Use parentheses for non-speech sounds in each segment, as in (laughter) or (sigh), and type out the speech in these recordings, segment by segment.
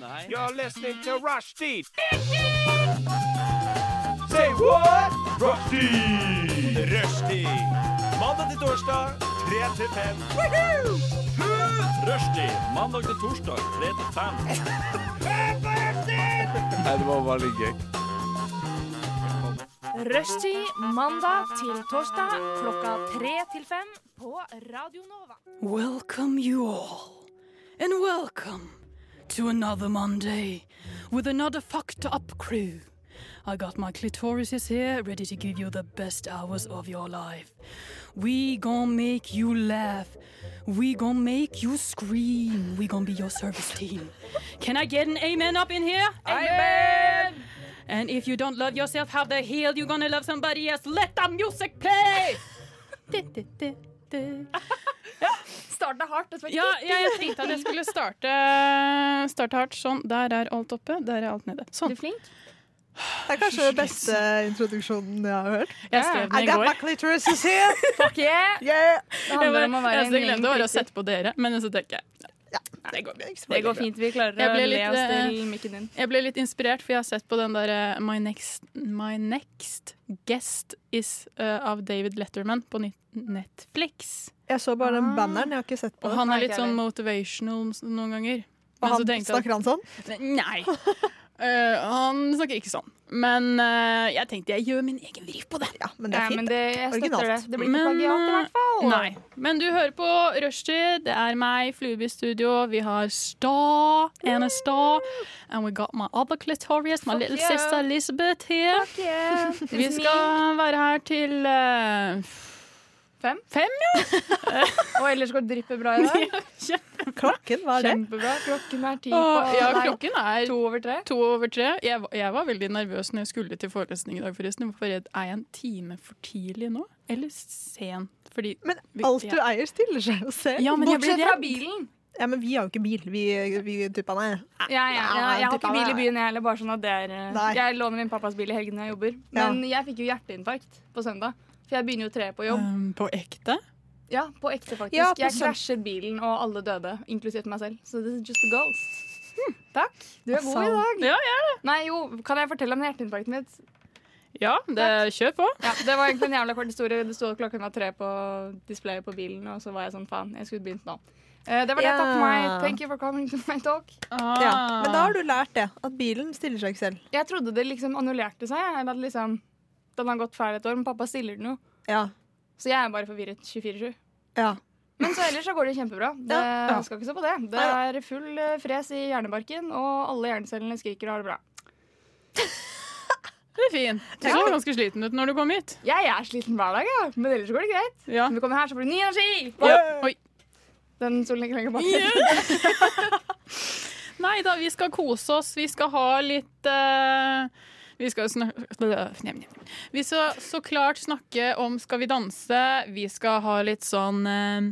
Nei. You're listening to Rushdie. Say what? Rushdie. Rushdie. Mandag til torsdag, 3 til 5. Rushdie. Mandag til torsdag, 3 til 5. Nei, det var bare litt gøy. Rushtid mandag til torsdag klokka tre til fem på Radio Nova. Welcome, you all, and welcome to another Monday with another fucked up crew. I got my clitorises here, ready to give you the best hours of your life. We gon' make you laugh. We gon' make you scream. We gon' be your service team. Can I get an amen up in here? Amen! And if you don't love yourself, how the hell you gonna love somebody else? Let the music play! Starten er hardt. dette var Ja, jeg, jeg tenkte (laughs) at jeg skulle starte, starte hardt. Sånn. Der er alt oppe, der er alt nede. ikke- Sånn. Du er flink. Det er kanskje den (laughs) beste introduksjonen jeg har hørt. Jeg skrev I den i got my går. clitoris is here! Fuck yeah! (laughs) Yeah! Det handler om å være jeg en gjeng glemte å klitter. sette på dere, men så tenker jeg det går bra. Det går fint. Vi klarer Jeg å ble le litt, oss eh, til mikken din. Jeg ble litt inspirert, for jeg har sett på den der eh, My Next, my next Guest Is eh, av David Letterman på nytt- Netflix. Jeg så Ah. bare den banneren, jeg har ikke sett på Og den. han Nei, er litt ikke sånn heller. motivational noen ganger. Og Men så han tenkte jeg at- snakker han sånn? Nei. Eh, han snakker ikke sånn. Men eh, jeg tenkte jeg gjør min egen vri på det. Ja, men det Ja, er men fint. det, jeg støtter det. Originalt. Det blir ikke Men, plagiat i hvert fall. Nei. Men du hører på Rushtid. Det er meg, Flube i studio. Vi har Sta. Ene Sta. And we got my other clitorius, my Fuck little yeah. sister Elizabeth here. Fuck yeah. Vi skal være her til eh, Fem? Fem, (laughs) Og ellers går dryppet bra i dag. Klokken, hva er det? Kjempebra. Klokken er ti ja. på ja, nei, klokken er to over tre. to over tre. Jeg, var- jeg var veldig nervøs når jeg skulle til forelesning i dag, forresten. Hvorfor er jeg en time for tidlig nå? Eller sen? Fordi Men Vi- alt ja. du eier, stiller seg jo selv. Ja, men jeg blir Bortsett fra redd. bilen. Ja, men vi har jo ikke bil. Vi, vi tuppa ned. Ja, ja, ja, Ja, jeg har ikke typen bil i er- byen, jeg heller. Bare sånn at det er eh, Nei. Jeg låner min pappas bil i helgen når jeg jobber. Ja. Men jeg fikk jo hjerteinfarkt på søndag. For jeg begynner jo tre på jobb. um, På ekte? Ja, på ekte, faktisk. Ja, på jeg søn- krasjet bilen, og alle døde, inkludert meg selv. Så this is just a ghost. Takk. Du er god i dag. Ja, Nei, jo, kan jeg fortelle om hjerteinfarkten mitt? Ja, det, kjør på. Ja, Det var egentlig en jævla kort historie. Det sto at klokken var tre på displayet på bilen, og så var jeg sånn faen, jeg skulle begynt nå. Eh, det var det jeg takk for meg. Ja. Thank you for coming to my talk. Ah, Ja. Men da har du lært det. At bilen stiller seg ikke selv. Jeg trodde det liksom annullerte seg. Eller at liksom Den har gått feil et år, men pappa stiller den jo. Ja. Så jeg er bare forvirret 24-7. ja. Men så ellers så går det kjempebra. Det, Ja. man skal ikke se på det. Det Nei. er full eh, fres i hjernebarken, og alle hjernecellene skriker og har det bra. Det er fint. Du så ganske sliten ut når du kom hit. Jeg er sliten hver dag, ja. men ellers så går det greit. Ja. Når vi kommer her, så får du ny energi! Oi. Den solen ligger lenger bak. (laughs) (laughs) Nei da, vi skal kose oss. Vi skal ha litt eh, Vi skal snakke Vi skal så klart snakke om Skal vi danse. Vi skal ha litt sånn eh,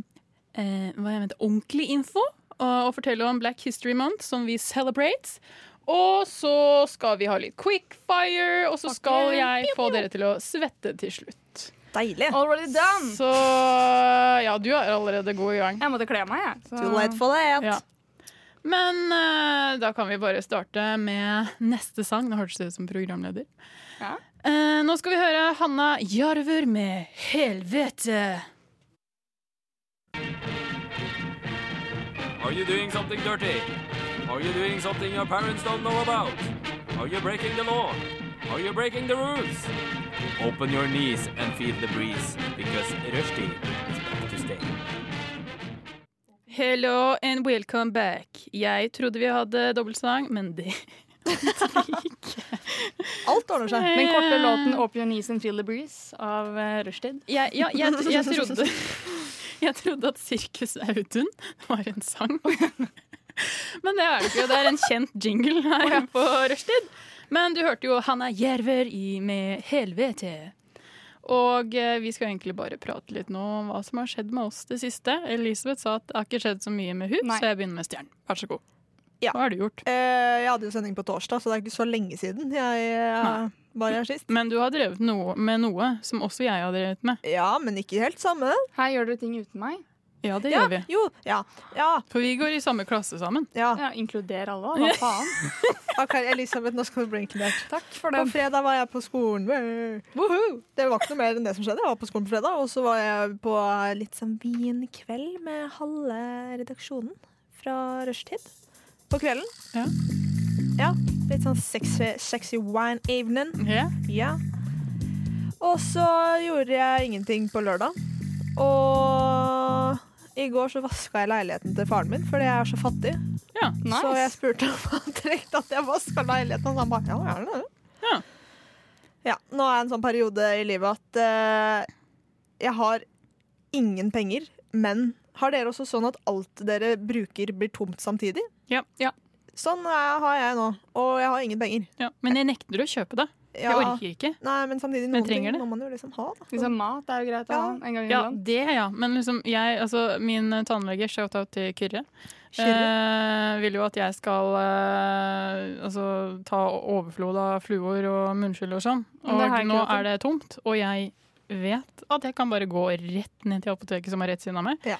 eh, Hva jeg mente, ordentlig info. Og, og fortelle om Black History Month, som vi celebrate. Og så skal vi ha litt quickfire, og så skal jeg få dere til å svette til slutt. Deilig. Already done! Så ja, du er allerede god i gang. Jeg måtte kle meg, jeg. Så. Too late for that. Ja. Men eh, da kan vi bare starte med neste sang. Nå hørtes det ut som programleder. Ja. Eh, nå skal vi høre Hanna Jarver med 'Helvete'. Are you doing something dirty? Are you doing something your parents don't know about? Are you breaking the law? Are you breaking the rules? Open your knees and feel the breeze, because Rushdie is back to stay. Hello and welcome back. Jeg trodde vi hadde dobbeltsang, men det Alt ordner seg. Den korte låten 'Open Your Knees and Feel the Breeze' av uh, Rushtid. jeg, ja, jeg, jeg trodde (laughs) Jeg trodde at Sirkus Audun var en sang. (laughs) Men det er det ikke. Det er en kjent jingle her på rushtid. Men du hørte jo Hanna Jerver i med 'Helvete'. Og eh, vi skal egentlig bare prate litt nå om hva som har skjedd med oss det siste. Elisabeth sa at det har ikke skjedd så mye med hun, Nei. så jeg begynner med Stjernen. Vær så god. Ja. Hva har du gjort? Eh, jeg hadde jo sending på torsdag, så det er ikke så lenge siden jeg eh, var her sist. Men du har drevet noe med noe som også jeg har drevet med. Ja, men ikke helt samme. Her gjør dere ting uten meg. Ja, det ja, gjør vi. Jo, ja. Ja, For vi går i samme klasse sammen. ja. Ja, inkluder alle, hva (laughs) faen? OK, Elisabeth, nå skal du bli inkludert. Takk for På den. fredag var jeg på skolen. Woohoo! Det var ikke noe mer enn det som skjedde. Jeg var på skolen på fredag, og så var jeg på litt sånn vinkveld med halve redaksjonen fra rushtid på kvelden. Ja. Ja, litt sånn sexy, sexy wine evening. Ja. Og så gjorde jeg ingenting på lørdag. Og i går så vaska jeg leiligheten til faren min, fordi jeg er så fattig. Ja, Så jeg Nice. spurte om han trengte at jeg vaska leiligheten, og han bare ja, gjerne det. Ja. Ja, nå er jeg i en sånn periode i livet at eh, jeg har ingen penger, men har dere også sånn at alt dere bruker, blir tomt samtidig? Ja. Ja. Sånn er, har jeg nå, og jeg har ingen penger. Ja. Men jeg nekter å kjøpe det. Jeg Ja. orker ikke. Nei, men samtidig, Men noen trenger ting det? må man jo liksom ha. Da. Liksom mat er jo greit å ha en gang Ja, iblant. det ja. Men liksom, jeg, altså, min tannlege, shout-out til Kyrre, Kyrre. eh, vil jo at jeg skal eh, altså, ta overflod av fluor og munnskyld og sånn. Men det har Og jeg ikke nå råd til. er det tomt, og jeg vet at jeg kan bare gå rett ned til apoteket som er rett siden av meg. Ja.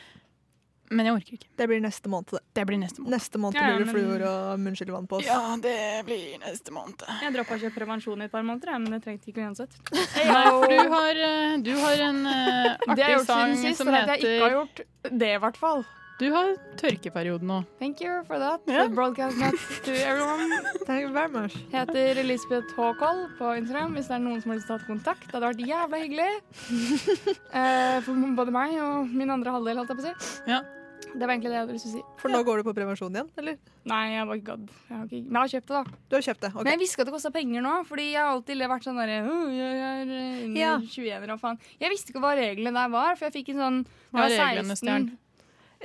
Men jeg orker ikke. Det blir neste måned. det. Det blir neste måned. Neste måned Ja, ja, blir det men- fluor og munnskyllevann på oss. Ja, det blir neste måned. Jeg droppa å kjøpe prevensjon i et par måneder, jeg, men det trengte ikke uansett. Nei, for du har, eh, du har en eh, Det jeg har artig gjort sang siden sist, som er at jeg ikke har heter gjort det, i hvert fall. Du har tørkeperiode nå. Thank you for that. Ja. Broadcast nuts to everyone. Thank you very much. Heter Elisabeth Håkoll på Instagram hvis det er noen som har lyst til å ta kontakt. Det hadde vært jævla hyggelig. (laughs) Eh, for både meg og min andre halvdel, holdt jeg på å si. Ja. Det var egentlig det jeg hadde lyst til å si. For nå går du på prevensjon igjen, eller? Nei, jeg var ikke gadd. Jeg har ikke... Men jeg har kjøpt det, da. Du har kjøpt det. ok. Men jeg visste ikke at det kosta penger nå, fordi jeg har alltid vært sånn derre «Åh, Jeg er eh, under Ja. 21 og faen. Jeg visste ikke hva reglene der var, for jeg fikk en sånn Hva er jeg var reglene, 16. Stjern?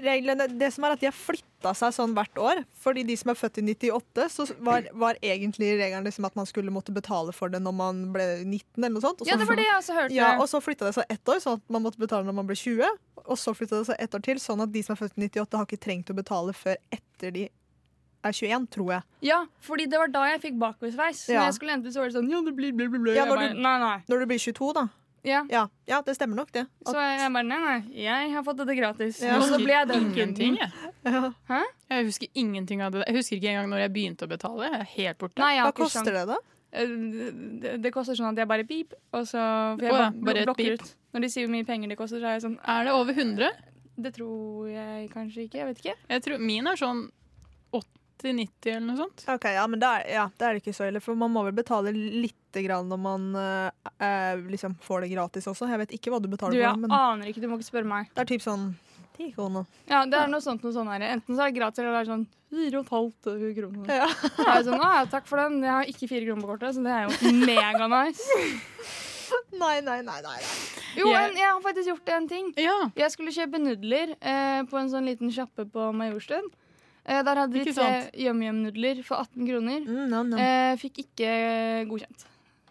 reglene Det som er at de har flytta seg sånn hvert år. Fordi de som er født i 98, så var, Mm. var egentlig regelen liksom at man skulle måtte betale for det når man ble 19, eller sånn noe sånt. Og så, Ja, det var det jeg også hørte. Ja, og så flytta det seg ett år, sånn at man måtte betale når man ble 20. Og så flytta det seg ett år til, sånn at de som er født i 98, har ikke trengt å betale før etter de er 21, tror jeg. Ja, fordi det var da jeg fikk bakveisveis. Så Ja. Når jeg skulle hente, så var det sånn Ja, det blir blir, blir, blir. Ja, Jeg når bare, du- Nei, nei. Når du blir 22, da. Ja. Ja, ja det stemmer nok, det. Så jeg bare Nei, nei. Jeg har fått dette gratis. Ja. Og så ble jeg den Ingenting, kunden. jeg. Ja. Hæ? Jeg husker ingenting av det. Jeg husker ikke engang når jeg begynte å betale. Jeg er helt borte. Nei, jeg Hva har ikke koster sjans. det, da? Eh, Det, det koster sånn at jeg bare beep, og så For jeg Å ja, blo- bare et blokker beep. ut. Når de sier hvor mye penger det koster, så er jeg sånn «Eh, Er det over 100? Det tror jeg kanskje ikke. Jeg vet ikke. Jeg tror min er sånn 80-90 eller noe sånt. Ok, ja, men da er, ja, da er det ikke så ille, for man må vel betale lite grann når man eh, eh, liksom får det gratis også. Jeg vet ikke hva du betaler Du, Ah. for, jeg men aner ikke. Du må ikke spørre meg. det er typ sånn 10 kroner. Ja, det er noe sånt noe sånn her. Enten så er det gratis, eller det er sånn fire og et halvt eh, kroner. Ja. Da er jeg sånn, «Å, ja, takk for den. Jeg har ikke fire kroner på kortet, så det er jo mega (laughs) nice. Nei, nei, nei, nei. Jo, Jeg- en, jeg har faktisk gjort en ting. Ja, Jeg skulle kjøpe nudler eh, på en sånn liten sjappe på Majorstuen. Eh, der hadde de Ikke tre sant? yum-yum-nudler for 18 kroner. Mm, no, no. Eh, fikk ikke godkjent.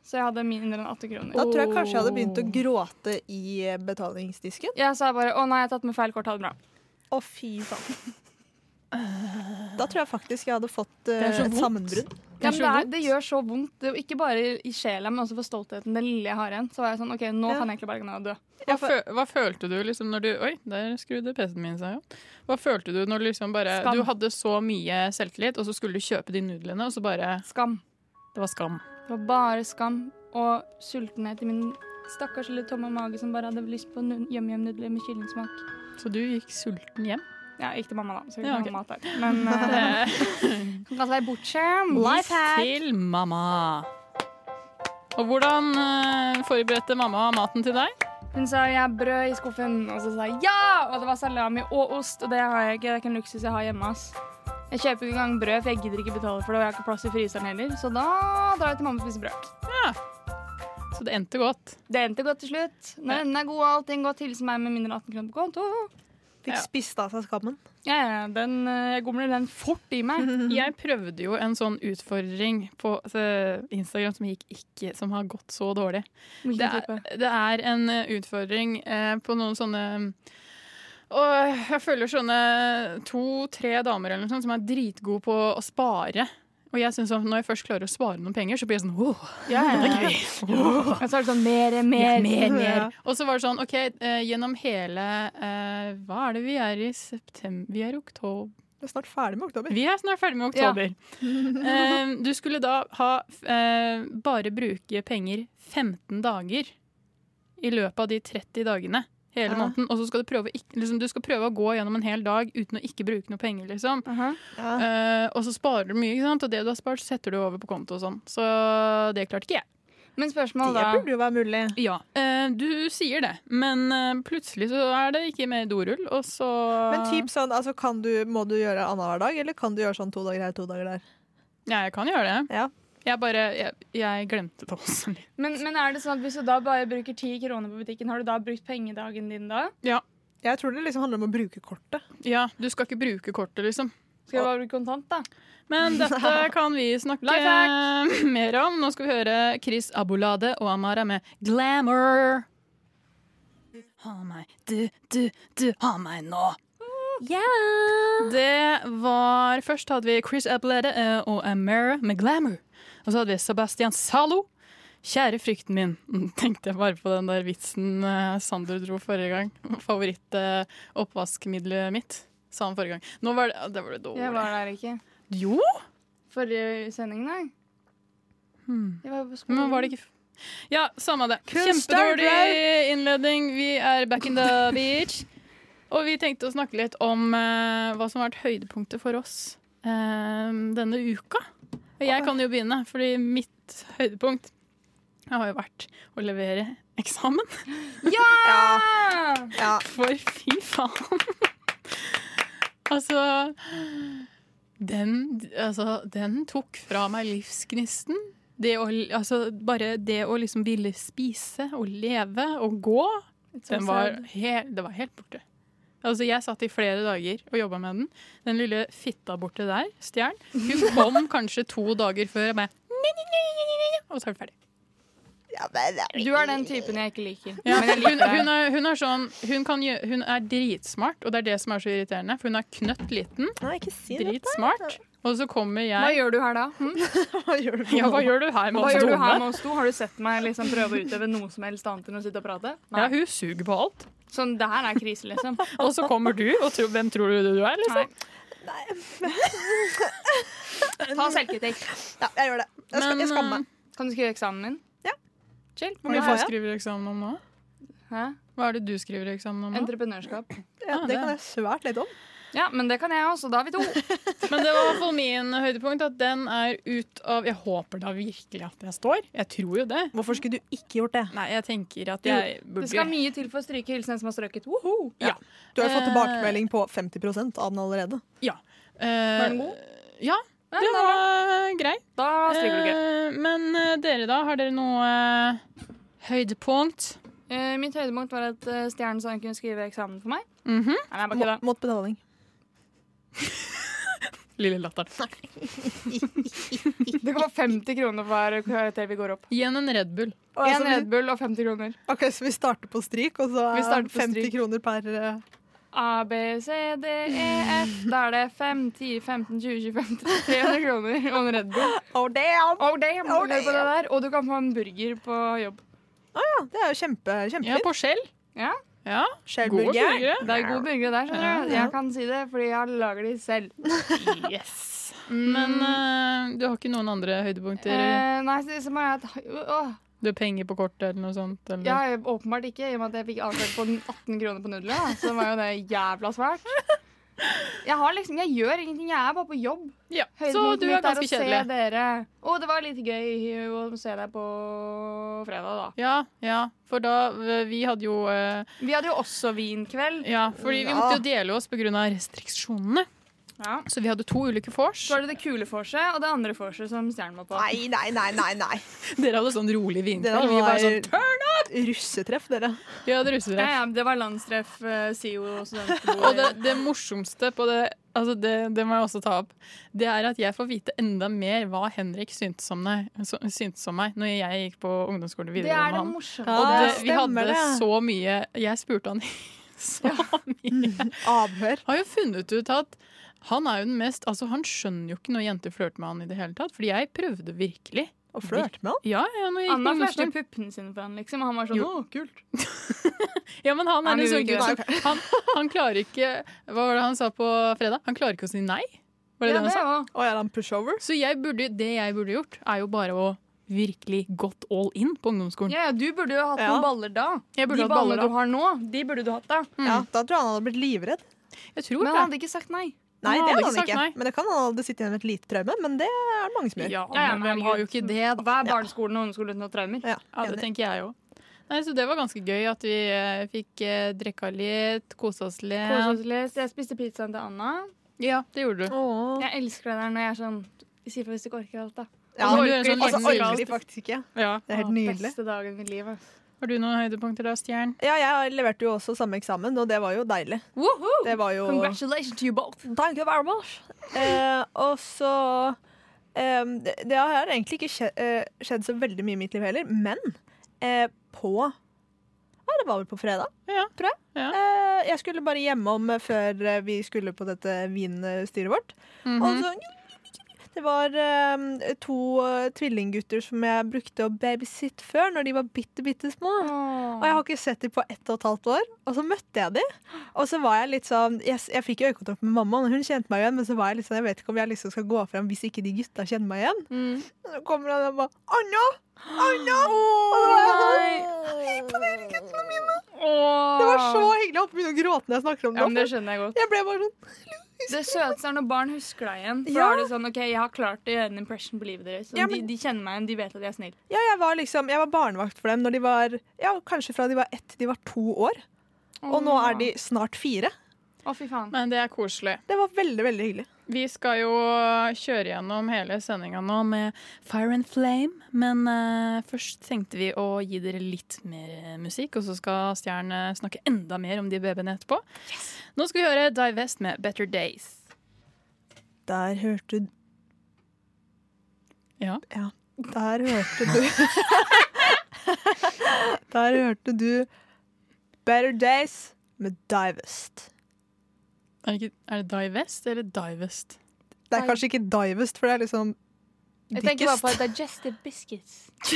Så jeg hadde mindre enn 18 kroner. Da tror jeg kanskje jeg hadde begynt å oh. gråte i eh, betalingsdisken. Jeg sa bare 'Å nei, jeg har tatt med feil kort. Ha det bra'. Å, fy faen. Da tror jeg faktisk jeg hadde fått eh, Det er så et vondt. sammenbrudd. Det Ja, er men det, så er, det gjør så vondt. Det, ikke bare i sjela, men også for stoltheten. Det lille jeg har igjen. Så var jeg sånn OK, nå Ja. kan jeg egentlig bare gå ned og dø. hva, fø hva følte du liksom når du Oi, der skrudde PC-en min seg jo. Hva følte du når du liksom bare Skam. Du hadde så mye selvtillit, og så skulle du kjøpe de nudlene, og så bare Skam. Det var skam. Det var bare skam og sultenhet i min stakkars lille tomme mage som bare hadde lyst på nu- yum-yum-nudler med kyllingsmak. Så du gikk sulten (laughs) hjem. Ja, ikke til mamma, da. Så vi Ja, kan ok. ha mat der. (laughs) Men eh, Eh, kan kalle deg bortskjerm. Til mamma. Og hvordan eh, forberedte mamma maten til deg? Hun sa 'jeg har brød i skuffen', og så sa jeg 'ja!' Og det var salami og ost, og det har jeg ikke. Det er ikke en luksus jeg har hjemme. ass. Jeg kjøper ikke engang brød, for jeg gidder ikke betale for det, og jeg har ikke plass i fryseren heller. Så da drar jeg til mamma og spiser brød. Så det endte godt. Det endte godt til slutt. Når enden er god og allting godt, hilse meg med mindre enn 18 kroner på konto. Fikk Ja. spist av seg skammen. Ja, ja, den, eh, jeg gomler den fort i (laughs) meg. Jeg prøvde jo en sånn utfordring på eh, Instagram som, gikk ikke, som har gått så dårlig. Hvilken Det er, type? det er en eh, utfordring eh, på noen sånne og jeg følger sånne to-tre damer eller noe sånt som er dritgode på å spare. Og jeg synes at når jeg først klarer å spare noen penger, så blir jeg sånn wow, Ja, det er (laughs) ja, ja. gøy. Og så er det sånn mer, mer, mer. mer. Ja. Og så var det sånn, ok, eh, gjennom hele eh, Hva er det vi er i september? Vi er i oktober. Det er snart ferdig med oktober. Vi er snart ferdig med Ja. oktober. Eh, du skulle da ha eh, bare bruke penger 15 dager i løpet av de 30 dagene hele Ja. måneden. Og så skal du prøve, å ikke- liksom, du skal prøve å gå gjennom en hel dag uten å ikke bruke noe penger, liksom. Aha. Ja. Eh, og så sparer du mye, ikke sant? og det du har spart, setter du over på konto og sånn. Så det klarte ikke jeg. Men Det spørsmålet da burde jo være mulig. Ja, eh, du sier det, men eh, plutselig så er det ikke mer dorull, og så Men typ sånn, altså kan du, må du gjøre annenhver dag, eller kan du gjøre sånn to dager her, to dager der? Ja, jeg kan gjøre det. Ja. Jeg bare Jeg, jeg glemte det også litt. men, men er det sånn at hvis du da bare bruker ti kroner på butikken, har du da brukt pengedagen din da? Jeg tror det liksom handler om å bruke kortet. Ja, du skal ikke bruke kortet, liksom. Skal jeg bare bruke kontant, da? Men dette kan vi snakke (laughs) Lifehack! mer om. Nå skal vi høre Chris Abulade og Amara med 'Glamour'. Ha meg, du, du, du, ha meg nå. Det var Først hadde vi Chris Abulade eh, og Amara med 'Glamour'. Og så hadde vi Sebastian Zalo. Kjære frykten min. (laughs) Mm, Tenkte jeg bare på den der vitsen eh, Sander dro forrige gang. (laughs) Favorittoppvaskmiddelet mitt, sa han forrige gang. Nå var det, det var det dårlig. Jeg var der ikke. Jo! Forrige sending, nei. Jeg var jo på skolen. Men var det ikke f- Ja, samme det. Kunstner, Kjempedårlig innledning. Vi er back in the beach. Og vi tenkte å snakke litt om eh, hva som har vært høydepunktet for oss eh, denne uka. Og jeg kan jo begynne, fordi mitt høydepunkt har jo vært å levere eksamen. Ja, Ah! ja. For fy faen! altså den, altså den tok fra meg livsgnisten. Det å, altså, bare det å liksom ville spise og leve og gå, den var helt, det var helt borte. Altså, jeg satt i flere dager og jobba med den. Den lille fitta borte der, Stjern, hun kom kanskje to dager før og bare Og så er det ferdig. Du er den typen jeg ikke liker. Ja, Men jeg hun, liker deg. hun, er, hun er sånn hun, kan, gjø- hun er dritsmart, og det er det som er så irriterende. For hun er knøtt liten, Nei, ikke si det. dritsmart, og så kommer Hva jeg gjør du her da? Hm? Hva gjør du Ja, nå? (laughs) hva gjør du her med Hva oss gjør du her dumme? med oss to? Har du sett meg liksom prøve å utøve noe som helst annet enn å sitte og prate? Ja, Nei. hun suger på alt. Sånn, det her er krise, liksom. Og så kommer du, og tro, hvem tror du du er? Nei. liksom? Ta selvkritikk. Ja, jeg gjør det. Jeg, skal, jeg skammer meg. Kan du skrive eksamen min? Ja. Chill. Hvor Men, mye eh, hva har jeg? skriver du eksamen om nå? Hæ? Hva er det du skriver eksamen om nå? Entreprenørskap. Ja, Ah, det det. kan jeg svært litt om. Ja, men det kan jeg også. Da er vi to. Men det var i hvert fall min høydepunkt, at den er ut av Jeg håper da virkelig at jeg står. Jeg tror jo det. Hvorfor skulle du ikke gjort det? Nei, jeg tenker at Du, jeg Det skal burde mye til for å stryke hilsen en som har strøket. Woho! Ja. Du har jo Eh. fått tilbakemelding på 50 av den allerede. Eh, Var den god? Ja, Ja, den da er det bra. var grei. Da stryker du ikke. Eh, Men eh, dere, da? Har dere noe eh, høydepunkt? Eh, mitt høydepunkt var at eh, Stjernen sa hun kunne skrive eksamen for meg. Mhm. Nei, jeg bare Mot, kødda. mot betaling. Lille latteren. Det går 50 kroner for hver karakter vi går opp. Igjen en Red Bull. Og En altså, vi- Red Bull og 50 kroner. Ok, Så vi starter på stryk, og så Vi er starter det på 50 stryk. kroner per eh, A, B, C, D, E, F. Da er det 5, 10, 15, 20, 25, 30, 300 kroner og en Red Bull. Oh, damn! Oh, damn, Oh, hør på det der. Og du kan få en burger på jobb. Ja, det er jo kjempe, Ja, kjempefint. på skjell. Ja. Ja, Gode Skjellburger. burgere. Det er gode burgere der, skjønner du. Jeg kan si det, fordi jeg lager de selv. (laughs) Yes. Men eh, du har ikke noen andre høydepunkter? Eh, nei, så, så må jeg ta Åh, Du har penger på kortet eller noe sånt? Eller? Ja, jeg- åpenbart ikke, i og med at jeg fikk avslag på den 18 kroner på nudler. da. Så var jo det jævla svært. Jeg har liksom, jeg gjør ingenting. Jeg er bare på jobb. Ja, Så Høydepunktet du er mitt ganske å se kjedelig. dere. Å, det var litt gøy å se deg på fredag, da. Ja, ja, for da eh, Vi hadde jo eh, Vi hadde jo også vinkveld. Ja, fordi vi Ja. måtte jo dele oss pga. restriksjonene. Ja. Så vi hadde to ulike vors. Så var det det kule vorset og det andre vorset som Stjernen var på. Nei, nei, nei, nei. nei. Dere hadde sånn rolig Det der vinkveld. Vi var sånn russetreff, dere. Vi hadde russere. Ja, ja, det var landstreff, eh, SIO og studentbord. Og det, det morsomste på det, altså det, det må jeg også ta opp, det er at jeg får vite enda mer hva Henrik syntes om, meg- så- syntes om meg når jeg gikk på ungdomsskole Det er videregående det med han. morsomme. Og Ja, det, vi hadde stemmer det. så mye Jeg spurte han (laughs) så mye. Avhør. Har jo funnet ut at Han er jo den mest, altså han skjønner jo ikke når jenter flørter med han i det hele tatt. Fordi jeg prøvde virkelig. Og flørte med han. Ja, ja, når jeg gikk på Anna flørte ungdomsskolen. puppene sine på henne, liksom. Og han var sånn Jo. Å, kult. Ja, men han Han er en sånn gjorde gutt ikke som han, han klarer ikke Hva var det han sa på fredag? Han klarer ikke å si nei. Var det det Ja, han det sa? òg. Og er han pushover? Så jeg burde, det jeg burde gjort, er jo bare å virkelig gått all in på ungdomsskolen. Ja, ja, du burde jo hatt Ja. noen baller da. Jeg burde de hatt baller ballene da. Mm. du har nå, de burde du hatt da. Ja, Da tror jeg han hadde blitt livredd. Jeg tror Men det. han hadde ikke sagt nei. Han Nei, det hadde hadde han ikke sagt ikke. nei. Men det kan han hadde sittet igjen med et lite traume. Men det er det mange som gjør. Ja, Ja, ja, men men hvem har jo ikke det, da? Hva er barneskolen og ungdomsskolen uten noen traumer? Ja, Ja, det enig. tenker jeg òg. Nei, Så det var ganske gøy at vi eh, fikk eh, drikka litt, kosa oss Kose litt. oss litt. Jeg spiste pizzaen til Anna. Ja, det gjorde du. Åh. Jeg elsker det der når jeg er sånn Si fra hvis du ikke orker alt, da. Og Ja, så men- gjør en sånn altså, liten orker musikal. de faktisk ikke. Ja. Det er helt Å, nydelig. Beste dagen i mitt liv, ass. Har du noen høydepunkter da, Stjern? Ja, jeg leverte jo også samme eksamen, og det var jo deilig. Woohoo! Det var jo Congratulations to you both. Thank you very much. Eh, og så eh, det, det har egentlig ikke skje, eh, skjedd så veldig mye i mitt liv heller, men eh, på Ja, det var vel på fredag, Ja. tror jeg. Ja. Eh, jeg skulle bare hjemom før eh, vi skulle på dette vinstyret vårt. Mhm. Og Mhm. så det var eh, to eh, tvillinggutter som jeg brukte å babysitte før, når de var bitte, bitte små. Og jeg har ikke sett dem på ett og et halvt år. Og så møtte jeg dem. Og så var jeg litt sånn Jeg, jeg fikk jo øyekontakt med mamma, og hun kjente meg igjen. Men så var jeg litt sånn Jeg vet ikke om jeg liksom skal gå fram hvis ikke de gutta kjenner meg igjen. Mm. Så kommer han og bare Anna! Anna! Og da var jeg sånn, Hei på dere guttene mine! Det var så hyggelig. Jeg holdt på å begynne å gråte når jeg snakker om Ja, men det. det skjønner jeg godt. Jeg ble bare sånn Det søteste er når barn husker deg igjen. For Ja. da er det sånn, ok, Jeg har klart å gjøre en impression på livet deres. Og Ja, men- de, de kjenner meg igjen, de vet at jeg er snill. Ja, jeg var liksom Jeg var barnevakt for dem når de var Ja, kanskje fra de var ett til de var to år. Og nå er de snart fire. Å, fy faen. Men det er koselig. Det var veldig, veldig hyggelig. Vi skal jo eh, kjøre gjennom hele sendinga nå med Fire and Flame. Men eh, først tenkte vi å gi dere litt mer eh, musikk, og så skal Stjern eh, snakke enda mer om de babyene etterpå. Nå skal vi høre Divest med Better Days. Der hørte Ja. Der hørte du (laughs) Der hørte du Better Days med Divest. Er det, ikke, er det Divest eller Divest? Det er kanskje ikke Divest, for det er liksom Jeg tenker bare på digestive biscuits.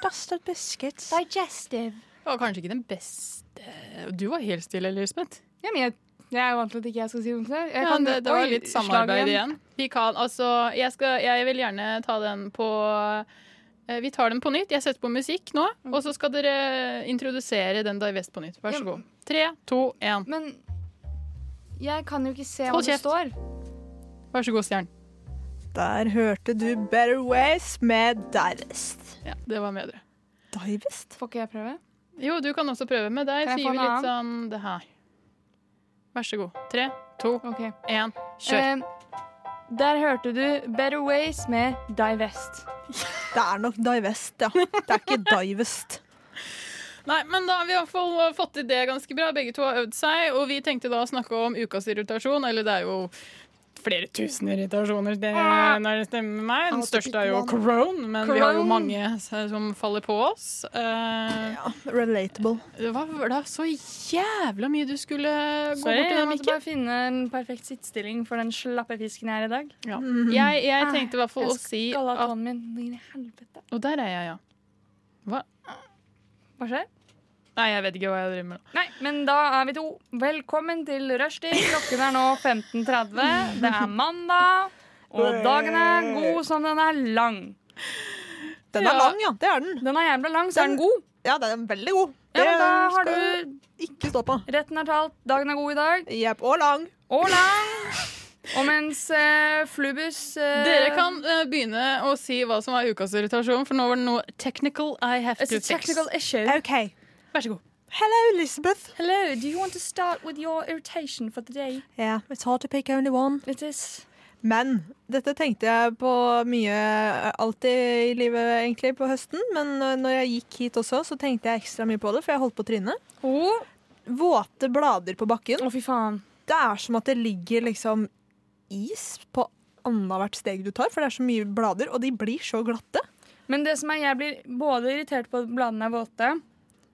Dusted Biscuits. Digestive. Det var kanskje ikke den beste Du var helt stille, Elisabeth. Ja, men jeg, jeg er jo vant til at ikke jeg skal si noe til det. Jeg Ja, kan- det, det var Oi, litt slag samarbeid igjen. Vi kan, altså, jeg, skal, jeg vil gjerne ta den på eh, Vi tar den på nytt. Jeg setter på musikk nå, og så skal dere introdusere den Divest på nytt. Vær så Ja. god. Tre, to, én. Men jeg kan jo ikke se hva Hold det kjeft. står. Vær så god, Stjern. (laughs) Der hørte du Better Ways med Divest. Ja, det var bedre. Divest? Får ikke jeg prøve? Jo, du kan også prøve med deg. Kan jeg Sier få vi en litt sånn det her. Vær så god. Tre, to, Ok. én, kjør. Eh, der hørte du Better Ways med Divest. Det er nok Divest, ja. Det (laughs) er ikke Divest. Nei, men da har vi i hvert fall eh, fått til det ganske bra. Begge to har øvd seg, og vi tenkte da å snakke om ukas irritasjon, eller det er jo flere tusen irritasjoner det, når det stemmer meg. Den største Ah! er jo Crone, men vi har jo Crohn. mange som faller på oss. Eh, Ja, relatable. det var det er så jævla mye du skulle gå bort til Sorry, jeg den måtte mikken. bare finne en perfekt sittstilling for den slappe fisken jeg er i dag. Ja. Jeg, Mm-hmm. jeg tenkte i hvert fall å si Jeg skalla at tåen min. Inn i helvete. Og der er jeg, ja. Hva skjer? Nei, jeg vet ikke hva jeg driver med nå. Nei, men da er vi to. Velkommen til rushtid. Klokken er nå 15.30. Det er mandag, og dagen er god som den er lang. Den Ja. er lang, ja. Det er den. Den er jævla lang, så er den god. Ja, den er veldig god. Ja, men da har Det skal du ikke stå på. retten er talt. Dagen er god i dag. Jepp. Og lang. Og lang. Og mens eh, Flubus eh, Dere kan eh, begynne å si hva som var ukas irritasjon, for nå var det noe technical I have It's to a fix. technical issue. OK. Vær så god. Hello, Elizabeth. Hello, do you want to start with your irritation for the day? Yeah, it's hard to pick only one. It is Men dette tenkte jeg på mye alltid i livet, egentlig, på høsten. Men eh, når jeg gikk hit også, så tenkte jeg ekstra mye på det, for jeg holdt på trynet. Å, Våte blader på bakken. fy faen. Det er som at det ligger liksom is på annethvert steg du tar, for det er så mye blader, og de blir så glatte. Men det som er, jeg blir både irritert på at bladene er våte,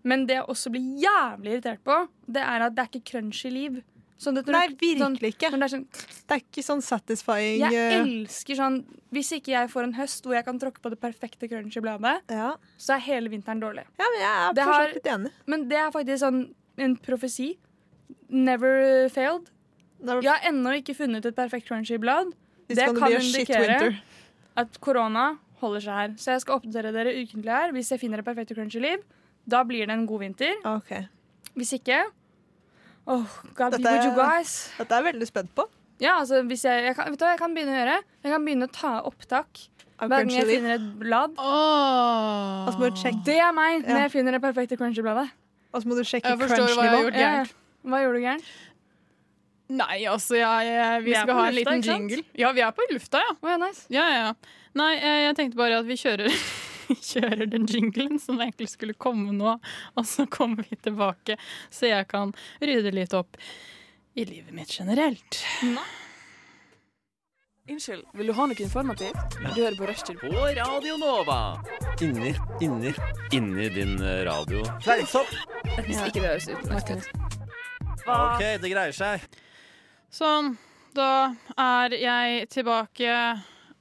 men det jeg også blir jævlig irritert på, det er at det er ikke crunchy liv. Sånn at når Nei, du- sånn- virkelig ikke. når det er sånn, Det er ikke sånn satisfying. jeg eh, elsker sånn Hvis ikke jeg får en høst hvor jeg kan tråkke på det perfekte crunchy bladet, ja. så er hele vinteren dårlig. ja, men jeg er Det for så har- vidt litt enig. Men det er faktisk sånn en profesi. Never failed. Det er- Jeg har ennå ikke funnet et perfekt crunchy blad. This det gonna kan be a shit indikere- winter. At korona holder seg her. Så jeg skal oppdatere dere ukentlig her. Hvis jeg finner det perfekte crunchy liv, da blir det en god vinter. Ok. Hvis ikke Oh, God be Dette er- with you guys. Dette er jeg veldig spent på. Ja, altså, hvis jeg, jeg kan, vet du hva jeg kan begynne å gjøre? Jeg kan begynne å ta opptak Av hver gang jeg Crunchyroll. finner et blad. Åh. Og Altså, så må du sjekke, Det er meg når Ja. jeg finner det perfekte crunchy-bladet. og så må du sjekke Jeg forstår hva jeg har crunch-nivå. gjort gærent. Hva gjorde du gærent? Nei, altså, jeg, eh, vi, Vi er skal på ha en lufta, liten ikke sant? jingle. Ja, vi er på lufta, ja. Å, ja, nice. ja, ja. ja. Nei, eh, jeg tenkte bare at vi kjører, (laughs) kjører den jinglen som egentlig skulle komme nå, og så kommer vi tilbake, så jeg kan rydde litt opp i livet mitt generelt. Unnskyld, vil du ha noe informativt? Du hører på Rushtid. På Radio Nova. Inni, inni Inni din eh, radio. Fleisopp! Hvis ikke det høres ut. Martin. OK, det greier seg. Sånn, da er jeg tilbake.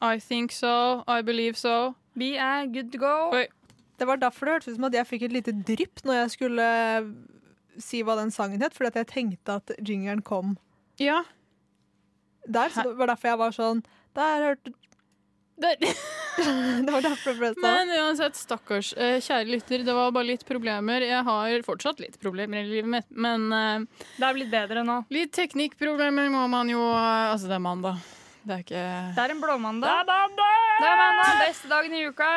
I think so, I believe so. Vi er good to go. Oi. Det var derfor det hørtes ut som at jeg fikk et lite drypp når jeg skulle eh, si hva den sangen het, fordi at jeg tenkte at jingeren kom Ja. der. Så det var derfor jeg var sånn Der hørte (laughs) Det, Det var derfor det ble sånn. Men uansett, stakkars. Eh, Kjære lytter, det var bare litt problemer. Jeg har fortsatt litt problemer i livet mitt, men eh, Det er blitt bedre nå. Litt teknikkproblemer må man jo Altså, det er mandag. Det er ikke Det er en blåmandag. Det er mandag, Beste dagen i uka.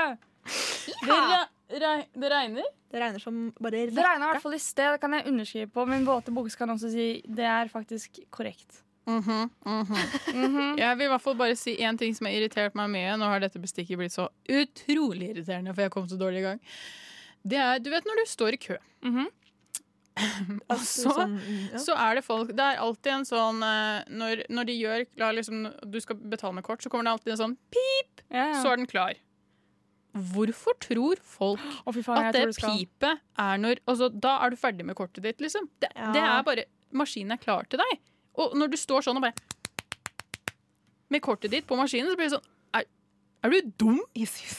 Det, re reg- det regner? Det regner som bare Det regna i hvert fall i sted. Det kan jeg underskrive på. Min våte bukse kan også si det er faktisk korrekt. Mhm, mhm. Jeg vil i hvert fall bare si én ting som har irritert meg mye. Nå har dette bestikket blitt så utrolig irriterende, for jeg kom så dårlig i gang. Det er, Du vet når du står i kø, Mhm. og Altså, så sånn, ja. Så er det folk Det er alltid en sånn eh, Når, når de gjør la liksom, Du skal betale med kort, så kommer det alltid en sånn pip, Ja, ja. så er den klar. Hvorfor tror folk Å, fy faen, at jeg det tror du skal- pipet er når altså, Da er du ferdig med kortet ditt, liksom. Det, Ja. det er bare Maskinen er klar til deg. Og når du står sånn og bare Med kortet ditt på maskinen, så blir det sånn Er, er du dum?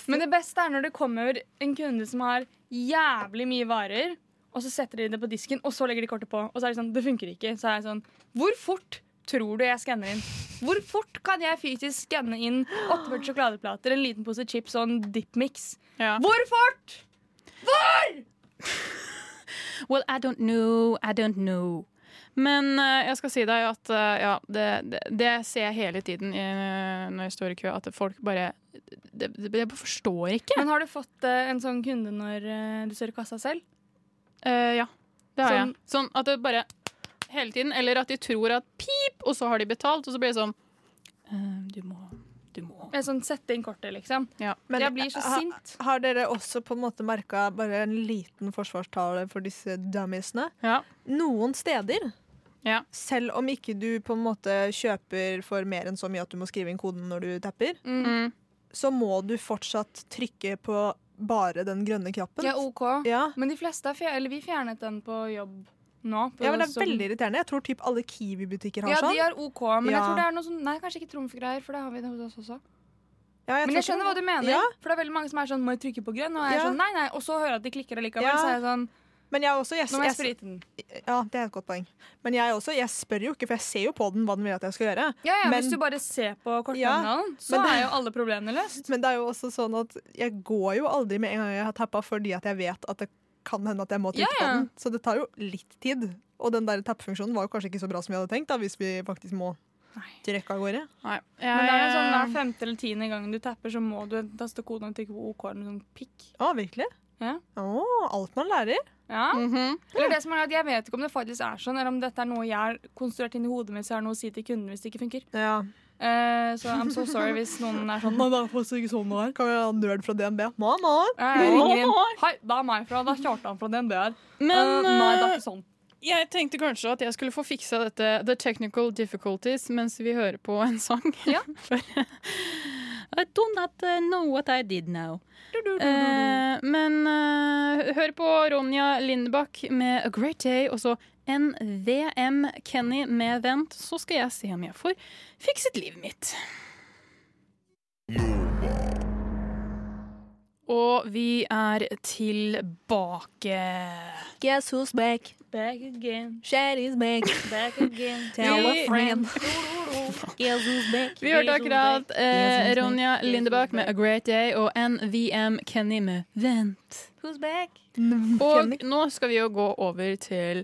Men det beste er når det kommer en kunde som har jævlig mye varer, og så setter de det på disken, og så legger de kortet på. Og så er det sånn, det funker ikke. Så er jeg sånn, hvor fort tror du jeg skanner inn? Hvor fort kan jeg fysisk skanne inn 48 sjokoladeplater, en liten pose chips og en dip-mix? Ja. Hvor fort? Well, I don't know, I don't know. Men eh, jeg skal si deg at eh, ja, det, det, det ser jeg hele tiden i, eh, når jeg står i kø, at folk bare det, det, Jeg bare forstår ikke. Men har du fått eh, en sånn kunde når eh, du står i kassa selv? Eh, ja, det har Sånn- jeg. Sånn at det bare hele tiden. Eller at de tror at pip, og så har de betalt, og så blir det sånn eh, Du må, du må. Eh, Sånn, sette inn kortet, liksom. Ja. Men jeg blir så ha- sint. Har dere også på en måte merka bare en liten forsvarstale for disse dummiesene? Ja. Noen steder, Ja. selv om ikke du på en måte kjøper for mer enn så mye at du må skrive inn koden når du tapper, Mm. så må du fortsatt trykke på bare den grønne knappen. Ja, oh. ok. ja. Men de fleste, har fjer- eller vi fjernet den på jobb nå. på Ja, men det er sånn- veldig irriterende. Jeg tror typ alle Kiwi-butikker har Ja, sånn. de har OK, men jeg Ja. tror det er noe sånn Nei, kanskje ikke trumfgreier, for det har vi det hos oss også. Ja, men jeg tror skjønner hva ikke- du mener, Ja. for det er veldig mange som er sånn Må jeg trykke på grønn? Og jeg er Ja. sånn Nei, nei. Og så hører jeg at de klikker allikevel. Ja. Så er jeg sånn Men jeg også, jeg, Nå må jeg jeg, sprite den. ja, det er et godt poeng. Men jeg også, jeg spør jo ikke, for jeg ser jo på den hva den vil at jeg skal gjøre. Ja, ja, Men- hvis du bare ser på kortterminalen, så men det- er jo alle problemene løst. Men det er jo også sånn at jeg går jo aldri med en gang jeg har tappa, fordi at jeg vet at det kan hende at jeg må trykke Ja, ja. på den. Så det tar jo litt tid. Og den der tappefunksjonen var jo kanskje ikke så bra som vi hadde tenkt, da, hvis vi faktisk må Nei. trekke av gårde. Nei. Men det er jo sånn hver Jeg, femte eller tiende gang du tapper, så må du enten taste koden og trykke på OK eller noe sånn pikk. Å, virkelig? Ja. Å, alt man lærer. Ja. Mhm. Eller det som er at jeg vet ikke om det faktisk er sånn, eller om dette er noe jeg har konstruert inn i hodet mitt, så jeg har noe å si til kunden hvis det ikke funker. Ja. Eh, så I'm so sorry hvis noen er sånn Men det er faktisk ikke sånn det er. Kan vi ha en nerd fra DNB? Mamma! Ja, Jeg ringer inn. Hei, det er meg fra Da kjørte han fra DNB her. Men Eh, nei, det er eh, ikke sånn. Jeg tenkte kanskje at jeg skulle få fiksa (laughs) dette The Technical Difficulties mens vi hører på en sang. Ja. For, eh, I do not uh, know what I did now. Eh, men eh, hør på Ronja Lindbakk med A Great Day, og så NVM Kenny med Vent, så skal jeg se om jeg får fikset livet mitt. Og vi er tilbake. Guess who's back? Back again, Sherry's back. back (laughs) again. Tell a Vi- friend. Guess who's back? Vi hørte akkurat eh, Ronja Lindebakk med A Great Day og NVM Kenny med Vent. Who's back? Og (laughs) Kenny. nå skal vi jo gå over til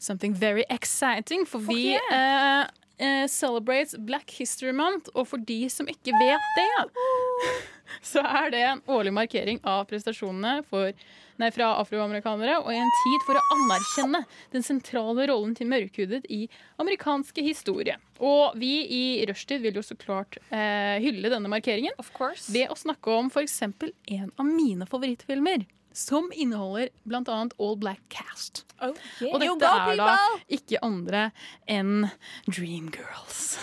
something very exciting, for vi eh, eh, celebrates Black History Month. Og for de som ikke vet det, (laughs) så er det en årlig markering av prestasjonene for, nei, fra afroamerikanere, og i en tid for å anerkjenne den sentrale rollen til mørkhudet i amerikanske historie. Og vi i Rushtid vil jo så klart eh, hylle denne markeringen Of course. ved å snakke om f.eks. en av mine favorittfilmer. Som inneholder bl.a. All Black Cast. Og dette er da ikke andre enn Dreamgirls.